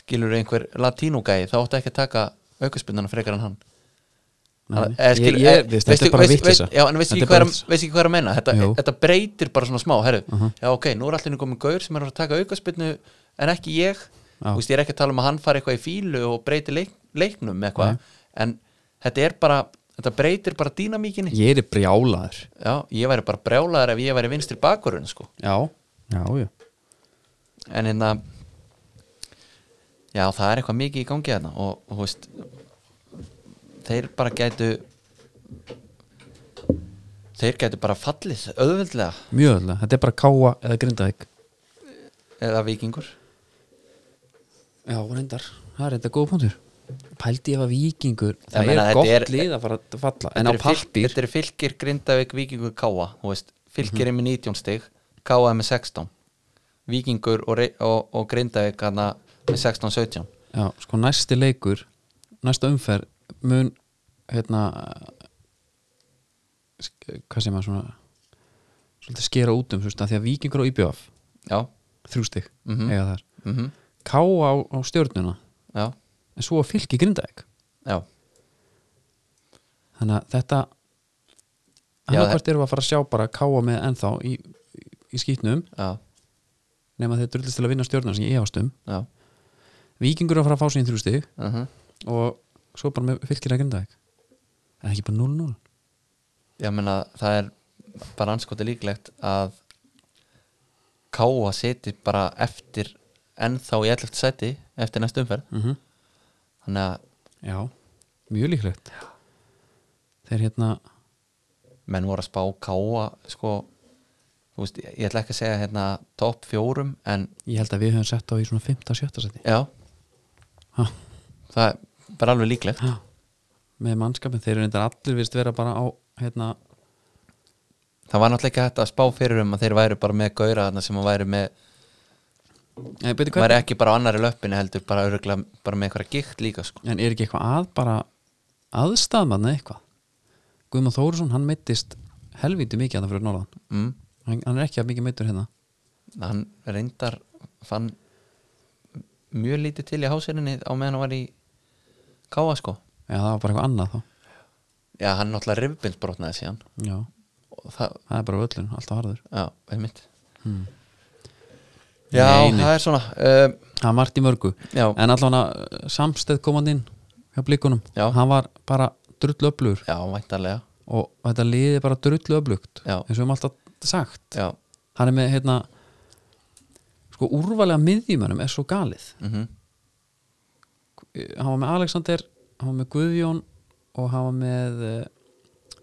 S2: skilur einhver latínugæði þá áttu ekki að taka aukaspunnana frekar en hann
S1: Nei,
S2: Að- eða
S1: ég,
S2: skilur-
S1: ég,
S2: eða-
S1: veist, þetta
S2: veistu-
S1: er bara
S2: veist-
S1: vittlisa
S2: veist- já en veist ekki hvað er að- veist ekki hvað er að meina þetta,
S1: Jú. Uh-huh.
S2: þetta breytir bara svona smá herru, já ok, nú er allir komin gaur sem er að taka aukaspunnu en ekki ég
S1: Já.
S2: Þú veist, ég er ekki að tala um að hann fari eitthvað í fílu og breyti leik, leiknum með eitthvað en þetta er bara, þetta breytir bara dýnamíkinni
S1: ég er brjálaður
S2: Já, ég væri bara brjálaður ef ég væri vinstri bakurinn sko.
S1: já, já, já
S2: en hérna já, það er eitthvað mikið í gangi þarna og, og þú veist þeir bara gætu þeir gætu bara fallið auðveldlega
S1: Mjög öðvöldlega, þetta er bara káa eða grindaðik
S2: eða vikingur
S1: Já, reyndar, það er reyndar góð punktur Pældi ef að vikingur
S2: Ég
S1: Það
S2: meina,
S1: er
S2: þetta
S1: gott
S2: er-
S1: lið að fara að falla En á
S2: Þetta eru fylk-
S1: pappir
S2: Þetta er fylgir Grindavík, Víkingur, Káa þú veist, Fylgir
S1: Mhm.
S2: er með 19 stig Káa er með 16 Víkingur og, Re- og, og Grindavík hana, með 16-17
S1: Já, sko næsti leikur Næsta umferð mun hérna sk- hvað sem að svona svolítið skera út um, þú veist, að því að vikingur og IBF
S2: Já,
S1: þrjústig, mm
S2: Mhm.
S1: eiga þar
S2: mm
S1: káa á, á stjörnuna,
S2: já,
S1: en svo að fylki grindaðik
S2: já
S1: þannig að þetta
S2: Já,
S1: annarkvært erum við að fara að sjá bara káa með ennþá í, í, í skýtnum
S2: Já,
S1: nema þeir drullist til að vinna stjórnar sem ég efast um
S2: já,
S1: Víkingur er að fara að fá sín þrjú stig
S2: uh
S1: og svo bara með fylgir að grinda er ekki bara 0-0
S2: já menna það er bara anskoti líklegt að Káa seti bara eftir ennþá í 11. seti eftir næstu umferð
S1: mm
S2: þannig að
S1: Já, mjög líklegt Þeir hérna
S2: menn voru að spá Káa sko, þú veist, ég, ég ætla ekki að segja hérna topp fjórum en
S1: ég held að við höfum sett á í svona 15-17 seti
S2: já
S1: Ha.
S2: það er bara alveg líklegt
S1: Já. með mannskapin, þeir eru reyndar allir vist vera bara á hérna,
S2: það var náttúrulega ekki hægt að spá fyrir um að þeir væri bara með gauðra þarna sem að væri með
S1: eh, beti,
S2: væri ekki bara á annari löppinu heldur bara, örugglega bara með eitthvað gikt líka sko.
S1: en er ekki eitthvað að bara aðstæðmanna eitthvað Guðmund Þórisson, hann meittist helvíti mikið að það fyrir norðan
S2: mm.
S1: hann, hann er ekki að mikið meittur hérna
S2: hann reyndar fann mjög lítið til í háserinni á meðan hann var í káa sko
S1: já, það var bara eitthvað annað þá
S2: já hann náttúrulega rifbindsbrotnaði síðan
S1: já,
S2: og það,
S1: það er bara völlun, alltaf harður
S2: já, einmitt
S1: Hmm.
S2: já,
S1: Nei, nei.
S2: það er svona um,
S1: það er margt í mörgu
S2: já,
S1: en allavega samstæð komandinn hjá blikunum,
S2: Já.
S1: hann var bara drullu öflugur
S2: já, væntarlega
S1: og þetta liði bara drullu öflugt
S2: Já.
S1: eins og við höfum alltaf sagt
S2: já,
S1: hann er með hérna sko úrvalega miðjumönum er svo galið
S2: mhm
S1: hann var með Alexander, hann var með Guðjón og hann var með eh,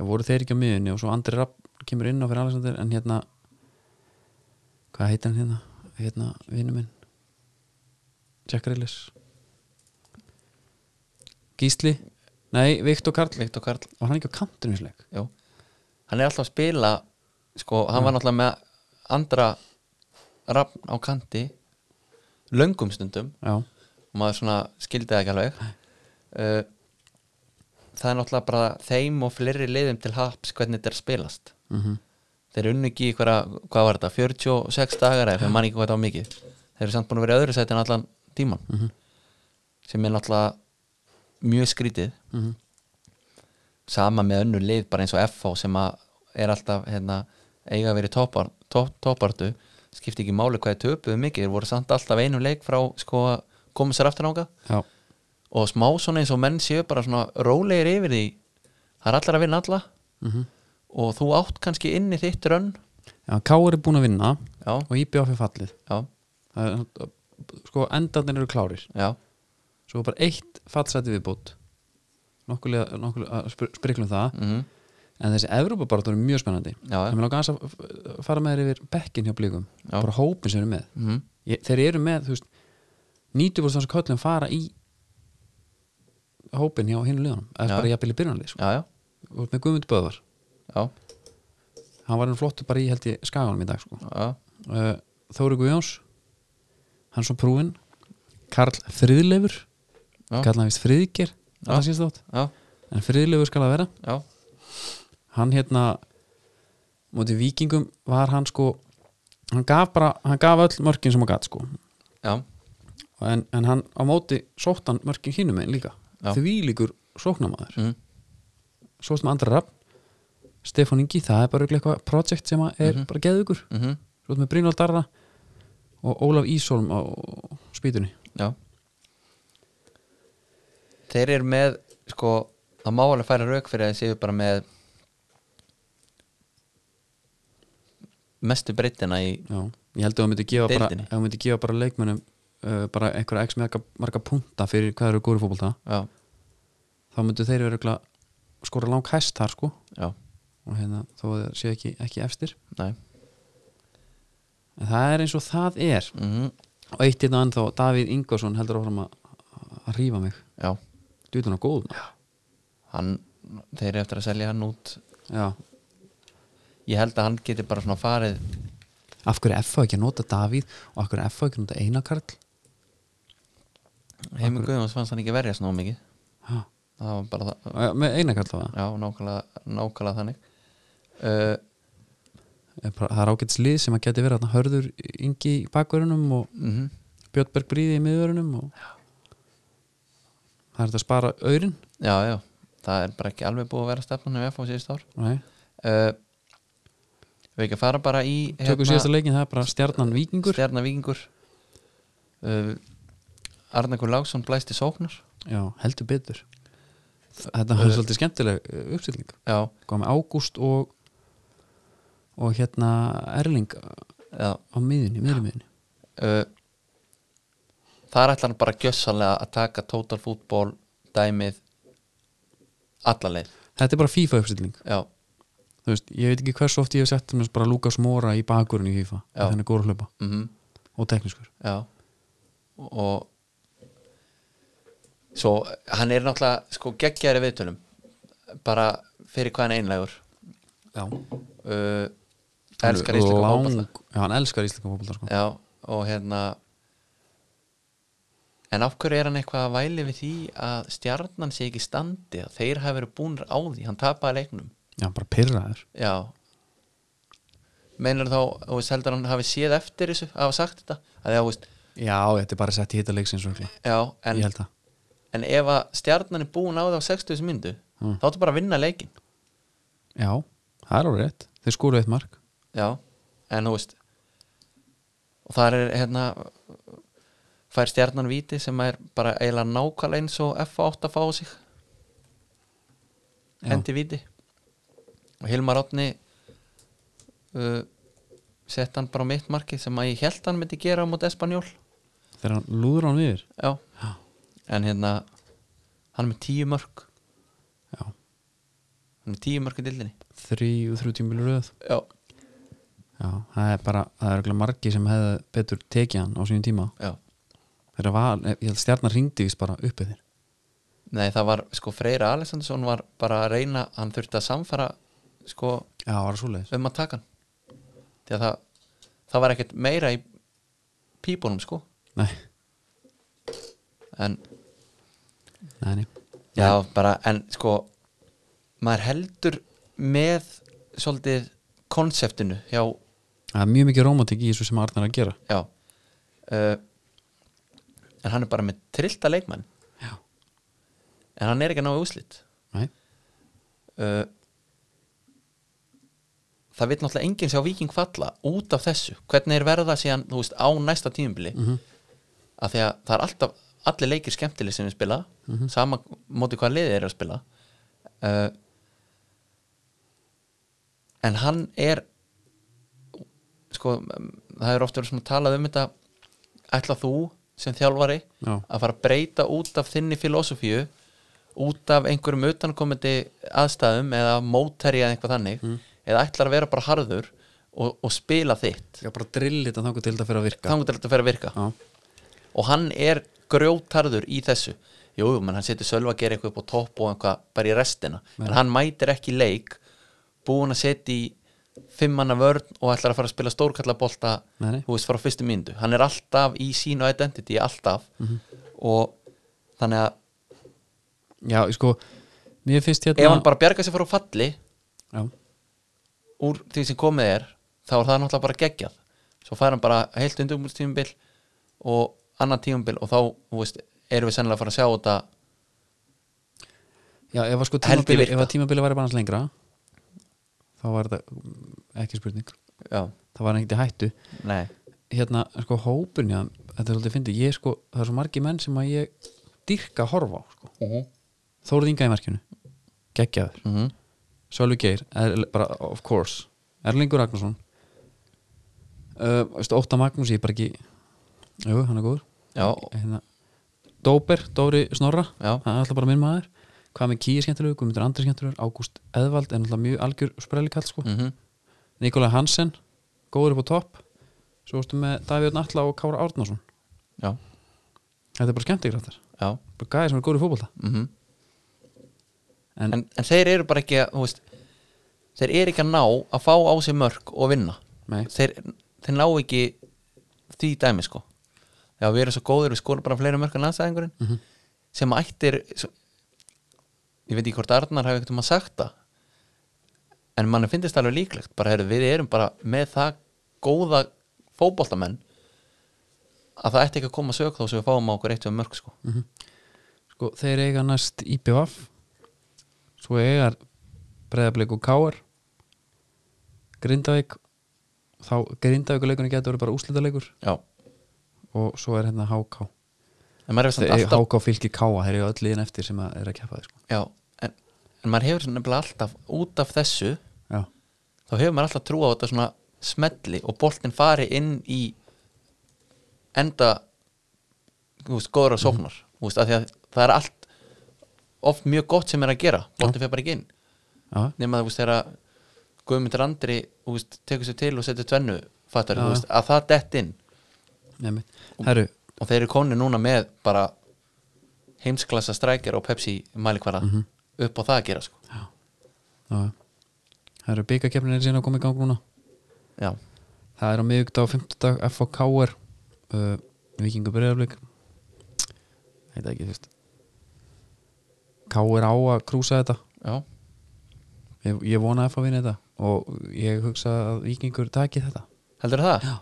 S1: já voru þeir ekki á miðjunni og svo Andri Rapp kemur inn á fyrir Alexander en hérna hvað heitir hann hérna, hérna vinnu minn Jack Rillis Gísli nei, Viktor Karl
S2: Viktor Karl
S1: var hann ekki á kantinu slik
S2: Jú. hann er alltaf að spila sko, hann
S1: Hmm.
S2: var náttúrulega með andra rafn á kanti löngum stundum
S1: já,
S2: og maður svona skildi það ekki alveg uh, það er náttúrulega bara þeim og fleiri liðum til haps hvernig þetta er að spilast
S1: mm
S2: þeir unnu ekki í hverja, hvað var þetta 46 dagar eða, fyrir mann ekki hvað þetta var mikið þeir eru samt búin að vera í öðru sæti en allan tíman
S1: Mhm.
S2: sem er náttúrulega mjög skrítið
S1: mhm,
S2: sama með önnur lið bara eins og FH sem að er alltaf hérna, eiga að vera í toppar, topp, toppartu skipti ekki máli hvað þeir töpuðu mikið þeir voru samt alltaf einum leik frá sko, að koma sér aftur nága
S1: já,
S2: og smá svona eins og menn séu bara svona rólegir yfir því það er allar að vinna alla
S1: mm
S2: og þú átt kannski inni þitt rönn
S1: já Káur er búin að vinna
S2: já,
S1: og IBF er fallið
S2: já,
S1: Það er, sko endarnir eru klárir
S2: já,
S1: svo er bara eitt fallsæti viðbútt nokkulega, nokkulega að eh, spr- spriklum það
S2: mm
S1: en þessi Evrópa bara er mjög spennandi
S2: já, já,
S1: það mér langar aðeins að f- fara með þér yfir bekkin hjá blíkum,
S2: Já.
S1: bara hópin sem eru með
S2: mm
S1: ég, þeir eru með, þú veist 90% þessar köllum fara í hópin hjá hinu liðanum eða
S2: Já.
S1: bara jafnvel í byrjanlið sko.
S2: já, já,
S1: og með Guðmund Böðvar,
S2: já,
S1: hann var enn flottur bara í held ég skaganum í dag sko.
S2: já,
S1: uh, Þóri Guðjóns hann svo prúin Karl Friðleifur
S2: Já.
S1: Karl hann vist Friðger
S2: Já.
S1: það sést þátt
S2: já,
S1: en Friðleifur skal að vera
S2: já,
S1: hann hérna móti vikingum var hann sko hann gaf bara hann gaf öll mörkin sem hann gat sko
S2: já,
S1: en, en hann á móti sótt hann mörkin hinum einn líka
S2: Já.
S1: því líkur sóknamaður
S2: mm,
S1: svo sem andra rafn Stefán Ingi það er bara örugglega eitthvað projekt sem að er bara geðugur
S2: mm
S1: svo með Brynald Darra og Ólaf Ísholm á spýtunni
S2: já Þeir eru með sko, það má alveg færa rauk fyrir að þeir séu bara með mestu breytina í
S1: Já, ég held að þú myndir gefa bara,
S2: Deildinni.
S1: ef þú myndir gefa bara leikmönnum uh, bara einhverja x marga, marga punta fyrir hvað þeir eru góður fótbolta
S2: já,
S1: þá myndu þeir eru örugglega skora lang hæst þar sko
S2: já,
S1: og hérna þó að það sé ekki, ekki efstir
S2: næ
S1: en það er eins og það er
S2: mm
S1: og eitt hérna ennþá Davíð Ingvarsson heldur áfram að að rífa mig
S2: já,
S1: djúðuna góð maður.
S2: hann þeir eru eftir að selja hann út
S1: Já.
S2: ég held að hann geti bara svona farið
S1: af hverju F ekki að nota Davíð og af hverju F ekki að nota Einakarl
S2: heimi Guðjóns fannst hann ekki verja svona mikið
S1: Já.
S2: það var bara það
S1: Eh, með Einakarl það
S2: já, nákvæmlega, nákvæmlega þannig uh,
S1: Er bara- það er ágætis lið sem að geti verið þarna, hörður Ingi í bakverunum og
S2: mm
S1: Björnberg Bríði í miðvörunum og það er þetta að spara aurin
S2: já, já, það er bara ekki alveg búið að vera stefnunum FH síðust ár
S1: Nei.
S2: uh, við ekki að fara bara í hérna,
S1: tökum síðasta leikin, það er bara stjarnan vikingur
S2: stjarnavíkingur uh, Arnakur Láksson blæst í sóknar
S1: já, heldur betur þetta var svolítið skemmtileg uh, uppstilling
S2: já,
S1: hvað með Ágúst og og hérna Erling á
S2: já
S1: miðunni, miðri miðunni
S2: uh, þar ætlar hann bara gjössanlega að taka total fútból dæmið alla leið
S1: þetta er bara FIFA uppstilling
S2: já,
S1: þú veist, ég veit ekki hversu oft ég hef sett um bara Lukas Mora í bakurinn í FIFA
S2: Já.
S1: þannig góður að hlaupa
S2: mhm
S1: og teknískur
S2: já og svo hann er náttúrulega sko geggjæri viðtölum bara fyrir hvað hann er einlægur
S1: já,
S2: uh,
S1: hann
S2: elskar íslika fótbolta
S1: lang, já, hann elskar íslika fótbolta sko.
S2: já og hérna en af hverju er hann eitthvað að væli við því að stjarnan sé ekki í standi að þeir hafi verið búnir á því, hann tapaði leiknum
S1: já, bara pyrraður
S2: já meinar þá, og veist heldur hann hafi séð eftir þessu, hafa sagt þetta að það, veist,
S1: já, þetta er bara sett í hitta leiksins örugglega.
S2: já, en
S1: ég held það
S2: En ef að stjarnan er búin á það á 60 myndu
S1: Mm.
S2: þá ertu bara að vinna leikin
S1: já, það er alveg rétt, þeir skóru eitt mark
S2: Já, en þú veist og þar er hérna fær stjarnan víti sem er bara eiginlega nákvæmlega eins og F8 að fá á sig
S1: Já.
S2: hendi víti og Hilmar Átni uh, sett hann bara á mitt marki sem að ég held hann myndi gera á mót Espanjól
S1: þegar hann lúður hann viður
S2: Já,
S1: já,
S2: en hérna hann er með tíu mörg
S1: já,
S2: hann er með tíu mörg í dildinni
S1: þrjú, þrjú tímilur röð
S2: Já,
S1: já, það er bara, það er örugglega margi sem hefði betur tekið hann á sínum tíma
S2: já
S1: þegar val, ég held stjarnar ringdi vist bara uppið þér
S2: Nei, það var sko Freyra Alessandsson var bara að reyna, hann þurfti að samfara sko
S1: já, það var svoleiðis
S2: um að taka hann því að það, það var ekkert meira í pípunum sko
S1: nei,
S2: en
S1: nei, nei.
S2: já, bara, en sko maður heldur með svolítið konseptinu hjá,
S1: það er mjög mikið rómatik í þessu sem Arnar er að gera
S2: já uh, en hann er bara með trillta leikmann
S1: já,
S2: en hann er ekki að ná í úslit
S1: nei,
S2: uh, það veit náttúrulega enginn sem á Viking falla út af þessu hvernig er verða síðan, þú veist, á næsta tímubili mm af því að það er alltaf allir leikir skemmtileg sem við spila sama móti hvað liðið er að spila uh, en hann er sko, um, það er ofta verið svona talað um þetta ætla þú sem þjálfari
S1: já,
S2: að fara að breyta út af þinni filosofíu út af einhverjum utankomandi aðstæðum eða móteri eða eitthvað þannig eða ætlar að vera bara harður og, og spila þitt
S1: já, bara drillið þetta þangur til þetta fyrir að virka
S2: þannig til þetta fer að virka
S1: já,
S2: og hann er grjótarður í þessu jú, jú, menn hann setur sölva að gera eitthvað upp á topp og eitthvað bara í restina en hann mætir ekki í leik búin að setja í fimmanna vörn og ætlar að fara að spila stórkallabolta
S1: Nei, nei.
S2: þú veist, frá fyrstu myndu hann er alltaf í sínu identity, alltaf
S1: Mhm.
S2: og þannig að
S1: já, sko mér finnst
S2: ef
S1: hérna
S2: hann bara bjarga sér frá falli
S1: já,
S2: úr því sem komið er þá er það náttúrulega bara geggjað svo fær hann bara heilt undumúlstímbil og annan tímbil og þá þú veist, erum við sennilega að fara að sjá þetta
S1: Já, ef að sko
S2: Heldur
S1: tímabili,
S2: virka.
S1: ef að tímabili væri bara hans lengra þá var þetta mm, ekki spurning
S2: já,
S1: það var ekkert í hættu
S2: nei,
S1: hérna, sko, hópurinn, já, þetta er svolítið fyndið ég, sko, það er svo margi menn sem að ég dyrka að horfa á, sko, Þórið Inga í markinu geggjaður,
S2: mm
S1: Sölvi Geir er, bara, of course, Erlingur Ragnarsson uh, veistu, Ótta Magnús, ég er bara ekki jú, hann er góður
S2: já,
S1: hérna, Dóper, Dóri Snorra
S2: Já.
S1: það er alltaf bara minn maður hvað með Kíi skemmtilegur, Guðmundur Andri skemmtilegur Ágúst Eðvald er náttúrulega mjög algjör sprellikall sko.
S2: mhm,
S1: Nikolai Hansen, góður upp á topp svo varstu með Davíð Natla og Kára Árnason
S2: já,
S1: þetta er bara skemmtikraftar,
S2: já
S1: bara gæði sem er góður í fótbolta
S2: mhm.
S1: en,
S2: en, en þeir eru bara ekki að, þú veist, þeir eru ekki að ná að fá á sig mörg og vinna
S1: nei,
S2: þeir, þeir ná ekki því dæmi sko já við erum svo góðir, við skorum bara fleiri mörg en aðstæðingurinn sem ættir svo, ég veit ekki hvort Arnar hafi eitthvað sagt það en mann finnist alveg líklegt bara heyrðu, við erum bara með það góða fótboltamenn að það ætti ekki að koma sög þó sem við fáum á okkur eitt við mörg sko
S1: sko, þeir eiga næst IPVF svo eiga breðablik og Káar Grindavík þá grindavíkur leikunni getur verið bara úslita leikur
S2: já,
S1: og svo er hérna HK
S2: en maður hefur samt
S1: Þegar
S2: alltaf
S1: HK fylgir K.A. þeir eru öll liðin eftir sem að er að keppa þig sko.
S2: já, en, en maður hefur nefnilega alltaf út af þessu
S1: Já,
S2: þá hefur maður alltaf trú á þetta svona smelli og boltinn fari inn í enda þú veist, góðra sóknar þú veist, af því að það er allt oft mjög gott sem er að gera boltinn fyrir bara ekki inn
S1: já,
S2: nema þú veist þegar Guðmundur Andri þú veist, tekur sér til og setur tvennu fattar,
S1: Já,
S2: þú veist, að það dett inn
S1: nefnir Herru,
S2: og þeir eru konu núna með bara heimsklassa strækjar og Pepsi mælikvara upp á það að gera sko.
S1: já Herru, byggakefnin er síðan að koma í gang núna
S2: já,
S1: Það er á miðugdag og fimmtudag FOKR uh, Vikingu breyðarblík Heit ekki fyrst KR á að krúsa þetta
S2: já,
S1: Ég, ég vona að FH vinna þetta og ég hugsa að Vikingur taki þetta
S2: heldur það?
S1: Já.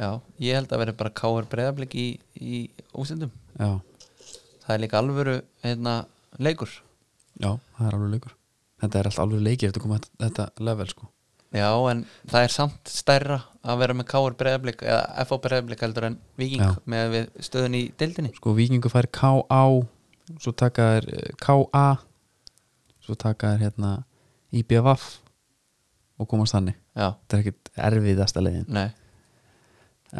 S2: já, ég held að vera bara káir breyðablik í, í úsendum
S1: Já,
S2: það er líka alvöru hérna, leikur
S1: já, það er alveg leikur Þetta er alltaf alveg leikir eftir að koma þetta, þetta level sko
S2: já, en það er samt stærra að vera með káir breyðablik eða FO breyðablik heldur en viking
S1: Já.
S2: með við stöðun í dildinni
S1: Sko Vikingur fær KA svo taka þær eh, KA svo taka þær hérna IBVF og komast þannig
S2: já,
S1: Þetta er ekkit erfiðasta leiðin
S2: nei,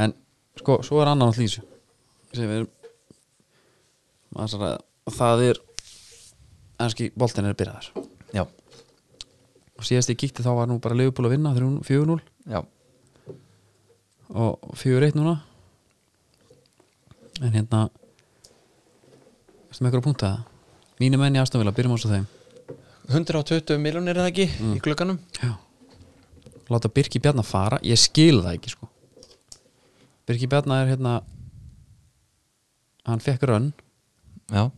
S1: en sko, svo er annan alltaf í þessu sem við erum maður að ræða. og það er ennski boltin er byrjaðar
S2: já,
S1: og síðast ég kíkti þá var nú bara Leifupúl að vinna 3 4-0
S2: já
S1: og 4-1 núna en hérna sem eitthvað að punta það mínu menn í Astonvilla, byrjum ás á þeim
S2: 120 miljónir er það ekki í glugganum
S1: Já. láta Birki Bjarnar fara ég skil það ekki sko Birki Bjarnar er hérna hann fekk rönn
S2: já,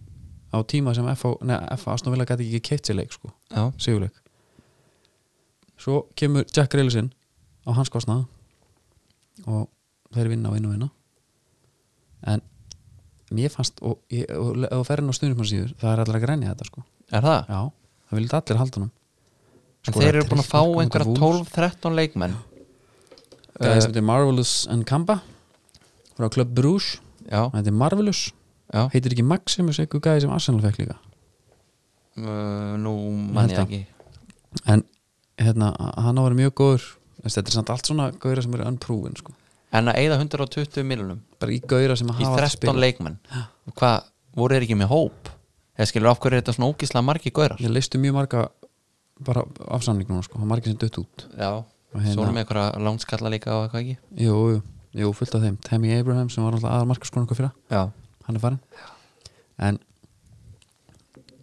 S1: á tíma sem FH, neða, FH Aston Villa gæti ekki keitt sér leik sko,
S2: já,
S1: sigurleik svo kemur Jack Reilsinn á hans kostnað og þeir vinna og vinna og vinna en mér fannst og, ég, og, og ferðin á stundum síður, það er allir að grænja þetta sko
S2: er það?
S1: já, það viljum allir halda hann
S2: En þeir eru búin að fá einhverja 12-13 leikmenn
S1: það sem Eh, heitir Marvelous and Kamba frá Club Bruges
S2: Já,
S1: hann heitir Marvelous,
S2: já
S1: heitir ekki Maximus eitthvað gæði sem Arsenal fekk líka
S2: uh, Nú mann
S1: Held
S2: ég
S1: að.
S2: ekki
S1: en hérna, hann á að vera mjög góður Þessi, þetta er samt allt svona gauðra sem eru unproven sko.
S2: En að eigða 120 miljonum
S1: bara í gauðra sem að
S2: Í
S1: hafa allt
S2: 13
S1: spilað.
S2: leikmenn Hvað, voru þeir ekki með hóp? Eða skilur af hverju er þetta svona ógislega margi gaurar
S1: ég leistu mjög marga bara af samning núna, sko, og margir sem dött út
S2: Já,
S1: Og hérna-
S2: svona með einhverja langskalla líka og eitthvað ekki
S1: jú, jú, jú, fullt af þeim Tammy Abraham sem var alltaf aðal markaskonu okkur fyrra
S2: Já,
S1: hann er farin en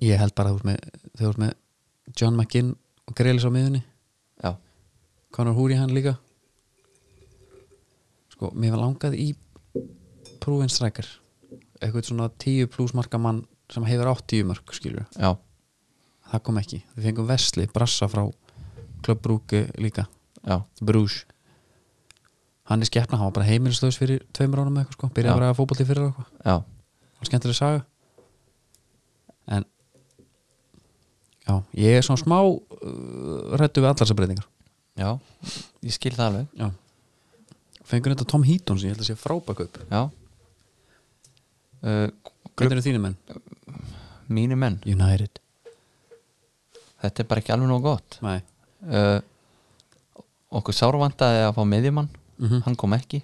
S1: ég held bara að þú ert með, þegar þú ert með John McGinn og Grealis á miðunni
S2: já,
S1: Conor Húri hann líka sko, mér var langað í prúfin strækar eitthvað svona 10 pluss marka mann sem hefur átt 10 mörg skilur
S2: já,
S1: það kom ekki, við fengum Vesli Brassa frá klubbrúki líka
S2: já,
S1: Bruges hann er skeppna, hann var bara heimilislaus fyrir tveimur ánum eitthvað sko,
S2: Já.
S1: byrjaði bara að fótbolti fyrir eitthvað
S2: já
S1: var skemmtileg saga en já, ég er svona smá uh, rættu við allar þessar breytingar
S2: Já, ég skil það alveg
S1: Já Fengur þetta Tom Heaton sem ég held að sé frábakaup
S2: Já uh,
S1: Hvernig eru þínu menn?
S2: Mínu menn,
S1: United
S2: þetta er bara ekki alveg nóg gott
S1: Nei
S2: uh, okkur sárvandaði að fá miðjumann
S1: Mhm.
S2: hann kom ekki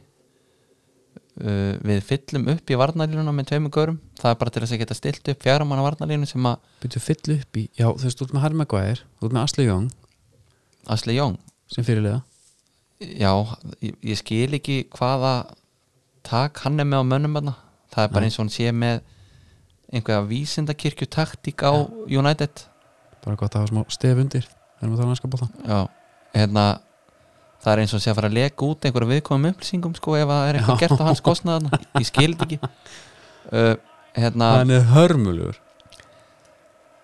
S2: uh, við fyllum upp í varnarlínuna með tveimur görum, það er bara til þess að geta stilt upp fjármanna varnarlínu sem að
S1: Byrju fyll upp í Já, þú veist, þú ert með Harry Maguire Þú ert með Asli Young
S2: Asli Jón,
S1: sem fyrirlega
S2: já ég, ég skil ekki hvaða tak hann er með á mönnum þarna það er bara eins og hann sé með einhverja vísindakirkju taktík á United
S1: Bara gott að hafa smá stef undir Það erum að tala um næska bóta
S2: já, hérna það er eins og sé að fara að leka út einhverja viðkomum upplýsingum sko ef það er eitthvað
S1: Já.
S2: gert á hans kostnaðan ég skil þetta ekki uh, hérna,
S1: Hann er hörmulugur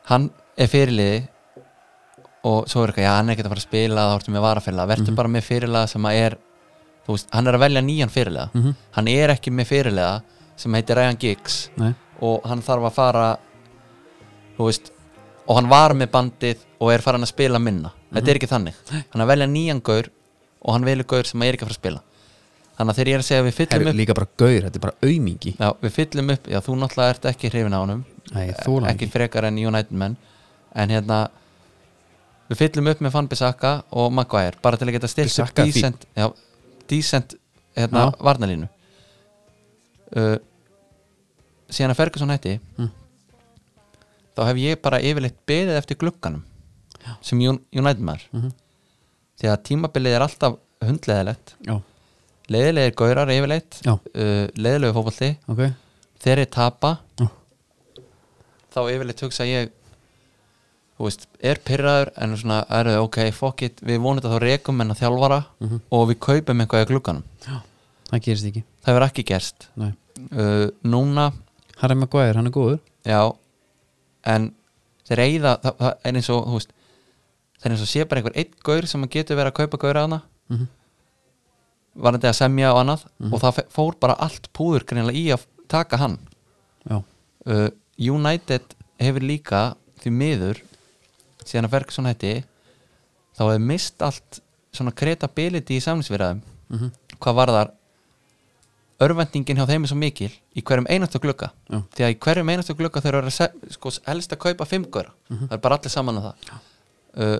S2: hann er fyrirliði og svo er eitthvað, já hann er ekkert að fara að spila þá ertu með varafyrirlega,
S1: Mhm.
S2: verður bara með fyrirlega sem að er, þú veist, hann er að velja nýjan fyrirlega
S1: Mhm.
S2: hann er ekki með fyrirlega sem heitir Ryan Giggs
S1: Nei
S2: og hann þarf að fara þú veist, og hann var með bandið og er farin að spila minna þetta er ekki þannig, hann er að velja nýjan gaur og hann velur gaur sem er ekki að fara að spila þannig að þegar ég er að segja að við fyllum
S1: Herru,
S2: upp
S1: líka bara gaur, þetta er bara aumingi
S2: já, við fyllum upp, já þú náttúrulega ert ekki hrifin á honum
S1: Nei, ég þola hann
S2: ekki
S1: ekki.
S2: frekar en United menn en hérna við fyllum upp með Fanbisaka og Maguire bara til að geta stilt upp
S1: Bissaka er fínn.
S2: decent, já, decent hérna,
S1: Já.
S2: varnalínu uh, síðan að Ferguson hætti
S1: Mm.
S2: þá hef ég bara yfirleitt beðið eftir glugganum já. sem Un- United maður
S1: Mhm.
S2: því að tímabilið er alltaf hundleðilegt
S1: Já,
S2: leiðilegir gaurar yfirleitt
S1: Já.
S2: uh, leiðilegu fótbolti
S1: ok
S2: þegar ég tapa
S1: Já.
S2: þá yfirleitt hugsa ég þú veist, er pyrraður en svona, er þau, ok, fuck it við vonum þetta þá rekum en að þjálfara
S1: Mhm.
S2: og við kaupum eitthvað í glugganum
S1: Það gerist ekki
S2: það hefur ekki gerst
S1: Nei.
S2: uh, núna,
S1: Harry Maguire, hann er góður
S2: já en þeir eigða það, það er eins og, þú veist það er eins og sé bara einhver eitt gaur sem getur verið að kaupa gaur að hana
S1: mm -hmm.
S2: varandi að semja og annað
S1: Mhm.
S2: og það fe- fór bara allt púður greinilega í að taka hann
S1: Já,
S2: uh, United hefur líka því miður síðan að Ferguson hætti þá hefur mist allt svona kretability í samlingsverðum
S1: mm
S2: hvað varðar örvendingin hjá þeim er svo mikil í hverjum einastu glugga
S1: Já.
S2: því að í hverjum einastu glugga þeir eru að se- sko, elst að kaupa fimmgöra mm
S1: Mhm.
S2: það er bara allir saman að það uh,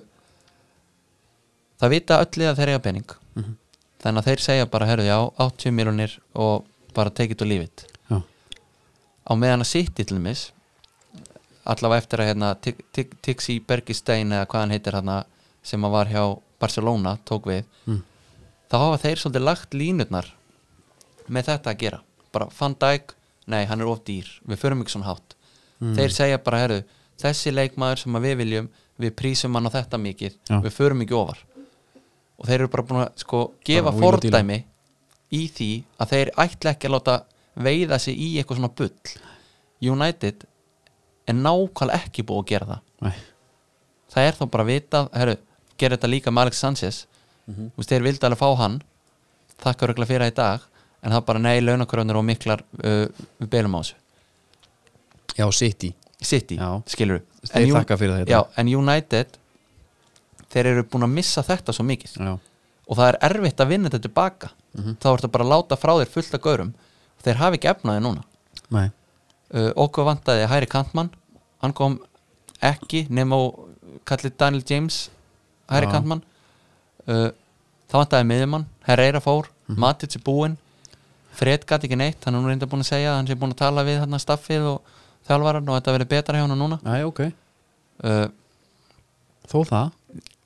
S2: það vita öll að þeir eiga pening
S1: Mhm.
S2: þannig að þeir segja bara herðu já 80 miljonir og bara take it or leave it
S1: já,
S2: á meðan að sitt til mis allavega eftir að hérna, Tig- Tig- Tixi Bergistein eða hvað hann heitir hérna, sem að var hjá Barcelona tók við
S1: Mm.
S2: þá hafa þeir svolítið lagt línurnar með þetta að gera bara Van Dijk, nei hann er of dýr við förum ekki svona hátt
S1: Mm.
S2: þeir segja bara herru, þessi leikmaður sem að við viljum við prísum hann á þetta mikið
S1: Já.
S2: við förum ekki ofar og þeir eru bara búin að sko gefa
S1: Bara wheel og deal.
S2: fordæmi í því að þeir ætla ekki að láta veiða sig í eitthvað svona bull United er nákvæmlega ekki búið að gera það
S1: Nei.
S2: það er þá bara vitað herru, gera þetta líka með Alex Sanchez mm -hmm. þeir vildi alveg fá hann þakka röglega fyrir það í dag en það bara nei, launakröðnir og miklar uh, við beilum á þessu
S1: já City
S2: City,
S1: Já.
S2: skilur
S1: Þeir þakka fyrir það í dag.
S2: já, en United þeir eru búin að missa þetta svo mikið
S1: Já,
S2: og það er erfitt að vinna þetta tilbaka þá ertu bara að láta frá þér fullt af gaurum þeir hafi ekki efnaði núna
S1: nei
S2: uh, okkur vantaði Hæri Kantmann hann kom ekki nema og kallið Daniel James Hæri
S1: Já.
S2: Kantmann uh, það vantaði miðjumann Herreira fór, Matic er búinn Fred gæti ekki neitt, hann er nú reynda búin að segja að hann sé búin að tala við hann staffið og þjálfaran og þetta verið betra hjá hann núna
S1: Æ, ok,
S2: uh,
S1: þó það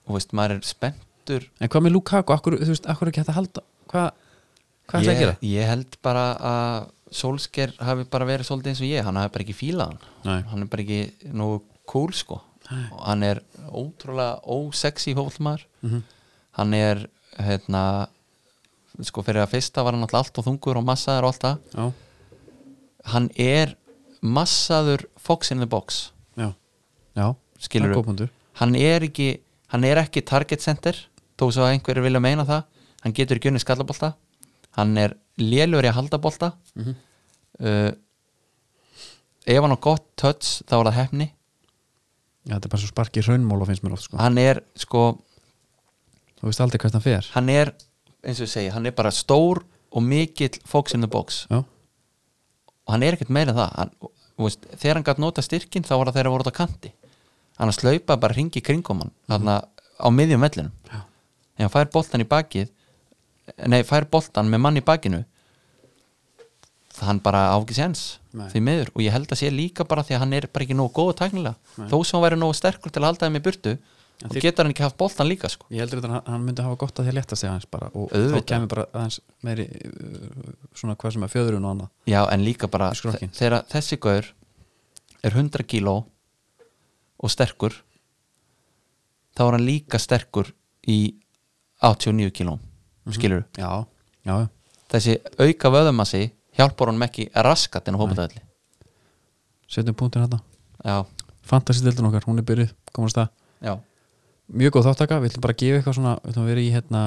S2: og veist, maður er spenntur
S1: En hvað með Lukaku, akkur, þú veist, akkur er ekki hægt að halda Hvað, hvað ætlaði að gera?
S2: ég, ég held bara að Solskjær hafi bara verið svolítið eins og ég hann hafi bara ekki fílað hann
S1: Nei.
S2: hann er bara ekki nógu cool sko og hann er ótrúlega ósexy hóflmaður hann er hérna sko fyrir að fyrsta var hann alltaf allt og þungur og massaður og allt það
S1: Já,
S2: hann er massaður fox in the box
S1: já, já
S2: Skilurðu?
S1: Það er góðbundur
S2: hann er ekki hann er ekki target center þó svo að einhverjir vilja meina það hann getur ekki unni skallabolta hann er lélur í að halda bolta uh, ef hann á gott touch þá er það hefni
S1: Já, þetta er bara svo sparkið raunmóla finnst mér oft, sko
S2: hann er sko
S1: Þú veist aldrei hvert hann fer
S2: hann er, eins og ég segi, hann er bara stór og mikill fox in the box
S1: Já,
S2: og hann er ekkert meira en það hann, og- þú veist, þegar hann gætt nota styrkin þá var það þegar að voru út á kanti hann að slaupa bara ringi kringum hann þarna á miðjum vellinum
S1: Já.
S2: en hann fær boltan í bakið nei, fær boltan með mann í bakinu það hann bara á ekki séns
S1: Nei.
S2: því miður og ég held að sé líka bara því að hann er bara ekki nógu góð tæknilega þó sem hann væri nógu sterkur til að halda þeim í burtu og
S1: þið-
S2: getur hann ekki haft boltan líka sko.
S1: ég heldur þetta að hann myndi hafa gott að því að létta sig aðeins bara og
S2: Auðvitað.
S1: þá kemur bara aðeins meiri uh, svona hvað sem er fjöðurinn og annað
S2: Já, en líka bara
S1: Skrokkinn.
S2: þe- þegar þessi gaur er 100 kíló og sterkur þá er hann líka sterkur í 89 kíló skilur
S1: Já, já, já.
S2: þessi auka vöðumassi hjálpar honum ekki að raskat en að hópa þetta
S1: setjum punktin hérna
S2: já,
S1: Fantasy-dildin okkar, hún er byrjuð, komast það
S2: já,
S1: Mjög góð þáttaka, við ætlum bara að gefa eitthvað svona við ætlum að vera í hérna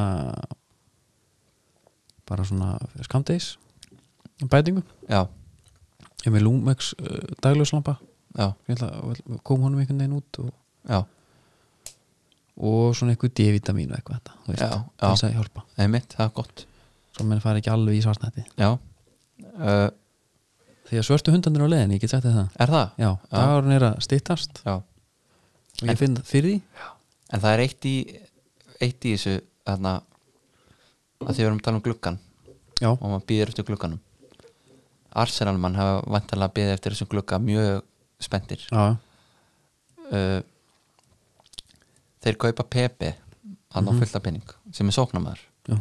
S1: bara svona skamdegis bætingu
S2: já,
S1: ég er með Lumex uh, dagljóslampa
S2: já,
S1: Ég ætla að- kom honum einhvern veginn út og,
S2: já
S1: og svona eitthvað D-vitamín og eitthvað þetta, þú veist,
S2: Já,
S1: til
S2: já.
S1: þess að hjálpa
S2: einmitt, það er gott
S1: svo menn fara ekki alveg í svartnætti
S2: já uh,
S1: því að svörtu hundandur á leiðin, ég get sagt þér það
S2: er það?
S1: já, dagurinn er að styttast
S2: já,
S1: og ég finn fyrir því
S2: en það er eitt í eitt í þessu þarna að því við erum að tala um gluggan
S1: já,
S2: og maður býður eftir glugganum Arsenal mann hafa vantarlega býðið eftir þessum glugga mjög spenntir
S1: já,
S2: uh, þeir kaupa Pepe hann á fullta penning sem er sóknamaður
S1: já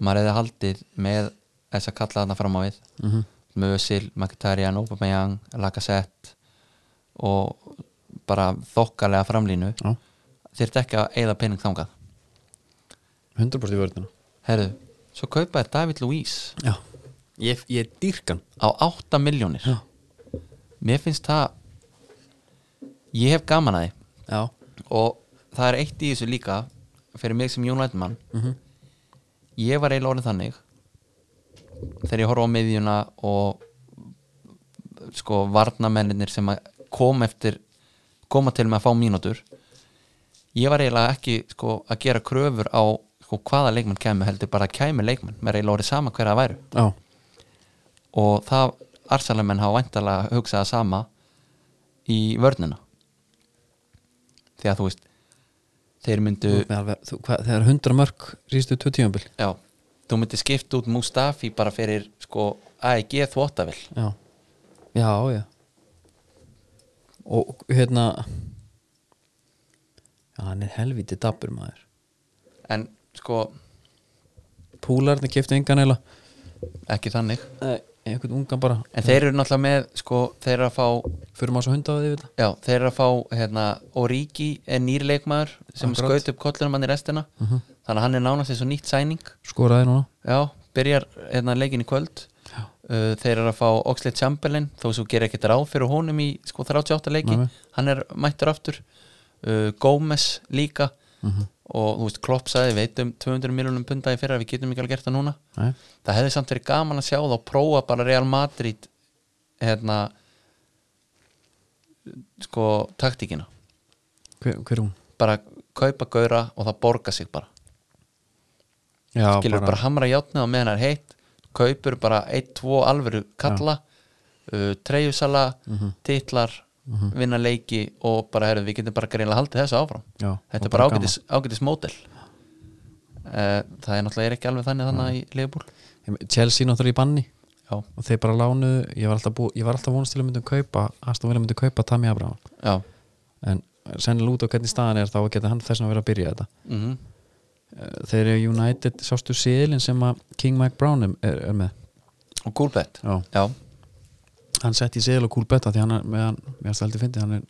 S2: maður hefði haldið með þess að kalla þarna fram á við
S1: mm -hmm.
S2: Mösil, Mkhitaryan, Aubameyang Lacazette og bara þokkalega framlínu
S1: já,
S2: þyrfti ekki að eigða penning þangað
S1: 100% í vörðina
S2: herðu, svo kaupa er David Luiz
S1: já, ég, ég er dýrkan
S2: á 8 miljónir
S1: já,
S2: mér finnst það ég hef gaman að því
S1: já,
S2: og það er eitt í þessu líka fyrir mig sem Jón Lætmann
S1: Mhm.
S2: ég var eiginlega orðin þannig þegar ég horfa á miðjuna og sko varnamennir sem að kom eftir koma til með að fá mínútur ég var eiginlega ekki sko að gera kröfur á sko, hvaða leikmann kemur heldur bara að kemur leikmann mér er eiginlega orðið sama hver að væru
S1: já,
S2: og það arsalamenn hafa væntalega hugsað það sama í vörnina því að þú veist þeir myndu
S1: Þú ert með alveg, þú, hva, þegar 100 mörg sístu tvö tímabil
S2: Já, þú myndir skipta út Mustafi bara fyrir sko AEG þvóttavill
S1: já, já, já og hérna já, hann er helviti dabur maður
S2: en sko
S1: púlarnir keftu engan eila
S2: ekki þannig
S1: einhvern ungan bara,
S2: en þeir eru náttúrulega með sko þeir eru að fá
S1: fyrir maður svo hunda á því við
S2: já, þeir eru að fá hérna Origi er nýrleikmaður sem
S1: Akkurat.
S2: skaut upp kollunum hann í restina þannig að hann er nánast eins og nýtt sæning
S1: skoraði núna
S2: já, byrjar hérna leikin í kvöld
S1: Já.
S2: uh, þeir eru að fá Oxlade Chamberlain þó svo gera ekkert ráð fyrir honum í sko 38 leiki
S1: Nei, nei.
S2: hann er mættur aftur uh, Gómez líka
S1: Mhm.
S2: og þú veist Klopp sagði við veitum 200 miljonum punda í fyrra við getum ekki alveg gert það núna
S1: Nei.
S2: það hefði samt verið gaman að sjá það og prófa bara Real Madrid hérna sko taktíkina
S1: hver, hver er hún?
S2: bara kaupa gauðra og það borga sig bara
S1: Já,
S2: skilur bara, hamra játnið á meðan það er heitt kaupur bara 1-2 alvöru kalla uh, treyjusala titlar, vinna leiki og bara herðu, við getum bara greinlega haldið þessu áfram
S1: já, og
S2: þetta er bara
S1: gaman.
S2: ágætis, ágætis mótel uh, það er náttúrulega er ekki alveg þannig þannig í Leifbúl
S1: Chelsea náttúrulega í banni
S2: Mm. já,
S1: og þeir bara lánuðu, ég var alltaf, bú, ég var alltaf vonast til að myndum kaupa, Aston Villa myndum kaupa Tammy Abraham
S2: já,
S1: en sennilega út á hvernig staðan er þá geta hann þess að vera að byrja þetta
S2: mm
S1: Eh, þeir eru United, sástu síðilinn sem að King Mike Brown er, er, er með
S2: og gúlbett
S1: já.
S2: já,
S1: hann setti í síðil og cool betta því hann er, með hann, mér finnst heldur fyndið, hann er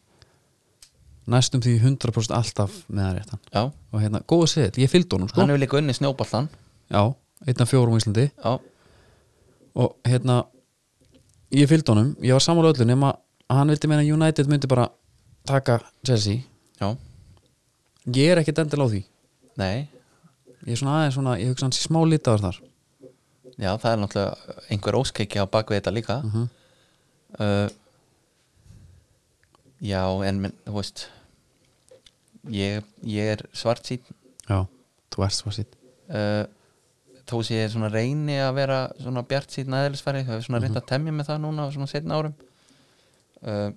S1: næstum því 100% alltaf með hann réttan
S2: já,
S1: og hérna, góða síðil, ég fylgd honum sko
S2: hann hefur líka unni snjóballan
S1: já, einn af fjórum í Íslandi
S2: já,
S1: og hérna ég fylgd honum, ég var sammála öllu nema að hann vildi meina að United myndi bara taka Chelsea
S2: já,
S1: ég er ekkert endil á því
S2: nei
S1: ég er svona aðeins svona, ég hugsa hans í smá litaður þar
S2: Já, það er náttúrulega einhver óskeiki á bakvið þetta líka uh, Já, en minn, þú veist ég, ég er svart sín
S1: já, þú ert svo sitt
S2: uh, þó sé ég svona reyni að vera svona bjart sín aðeinsfæri þau hefur svona reynt að temja með það núna á svona setna árum uh,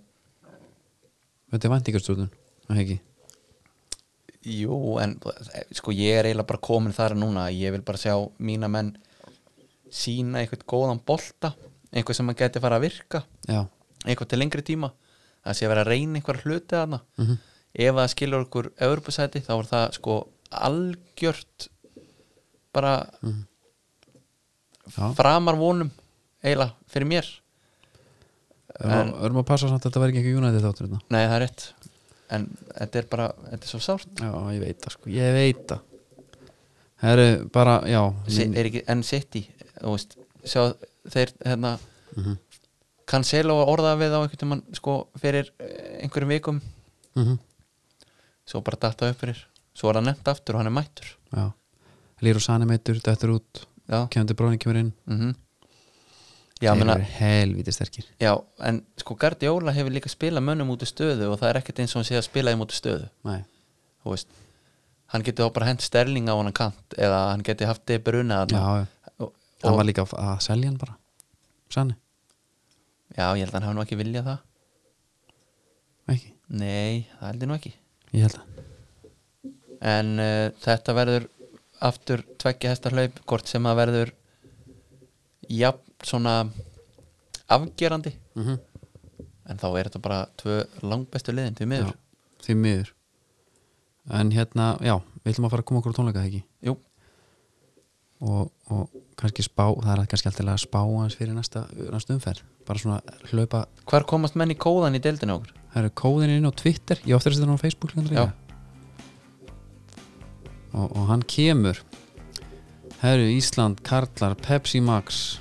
S1: þetta er væntingarstúdun, það ekki
S2: Jú, en eh, sko ég er eiginlega bara komin þar núna ég vil bara sjá mína menn sína eitthvað góðan bolta einhver sem að geti fara að virka
S1: já,
S2: eitthvað til lengri tíma það sé að vera að reyna einhver hluti þarna
S1: Mhm.
S2: ef það skilur okkur Evropasæti þá er það sko algjört bara
S1: Já.
S2: framar vonum eiginlega fyrir mér En-
S1: Erum- erum að passa samt að þetta verði ekki eitthvað United þáttur hérna. þetta
S2: nei það er rétt en þetta er bara, þetta er svo sárt
S1: já, ég veit það sko, ég veit það það eru bara, já
S2: Se,
S1: minn-
S2: er ekki, en City þú veist, sjá þeir hérna
S1: Mhm.
S2: Cancelo orðaði við á einhvern tímann sko fyrir eh, einhverjum vikum
S1: Mhm,
S2: svo bara datta upp fyrir svo er hann nefnt aftur og hann er mættur
S1: já Lýr og Sani meitur, þetta er út
S2: já
S1: kemur til bróðin, kemur inn
S2: mm já,
S1: Þeir
S2: meina,
S1: eru helviti sterkir
S2: já, en sko Guardiola hefur líka spilað mönnum út í stöðu og það er ekkert eins og hann sé að spila þeim út í stöðu
S1: Nei.
S2: þú veist hann geti þá bara hent sterling á hann kant eða hann geti haft De Bruyne
S1: já,
S2: þarna.
S1: já.
S2: og,
S1: hann
S2: og,
S1: var líka að selja hann bara sannig,
S2: já, ég held að hann hafi nú ekki viljað það
S1: ekki,
S2: nei, það held ég nú ekki
S1: ég held að
S2: en uh, þetta verður aftur tveggja hesta hlaup hvort sem að verður jafn svona afgerandi
S1: mm -hmm.
S2: en þá er þetta bara tvö langbestu liðin til miður
S1: já, því miður en hérna, já, við ætlum að fara að koma okkur á tónleika þegar ekki
S2: Jú,
S1: og, og kannski spá, það er kannski alltaf að spá hans fyrir næsta, næsta umferð bara svona hlaupa,
S2: hvar komast menn í kóðan í deildinu okkur?
S1: það eru kóðin inn á Twitter ég á eftir að setja hann á Facebook líka
S2: Já.
S1: líka. og, og hann kemur herru Ísland, Karlar, Pepsi Max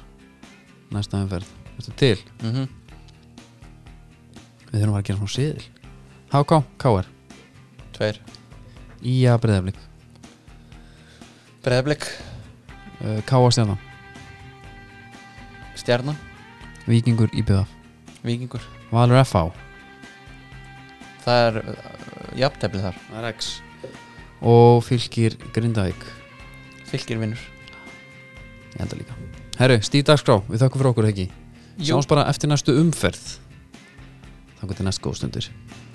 S1: næsta umferð Þetta til,
S2: Mm
S1: við þurfum að fara að gera svona siðil HK, KR,
S2: Tveir
S1: IA Breiðaflik
S2: Breiðablik,
S1: uh, KA Stjarnan,
S2: Stjarnan,
S1: Víkingur, IBF
S2: Víkingur
S1: Valur FH
S2: Það er uh, jafntefli þar
S1: RX og fylgir Grindavík
S2: Fylgir vinnur
S1: ég held að líka Herru, stíf dagskrá, við þökkum fyrir okkur ekki
S2: Jú.
S1: Sjáumst bara eftir næstu umferð Þannig til næst góðstundir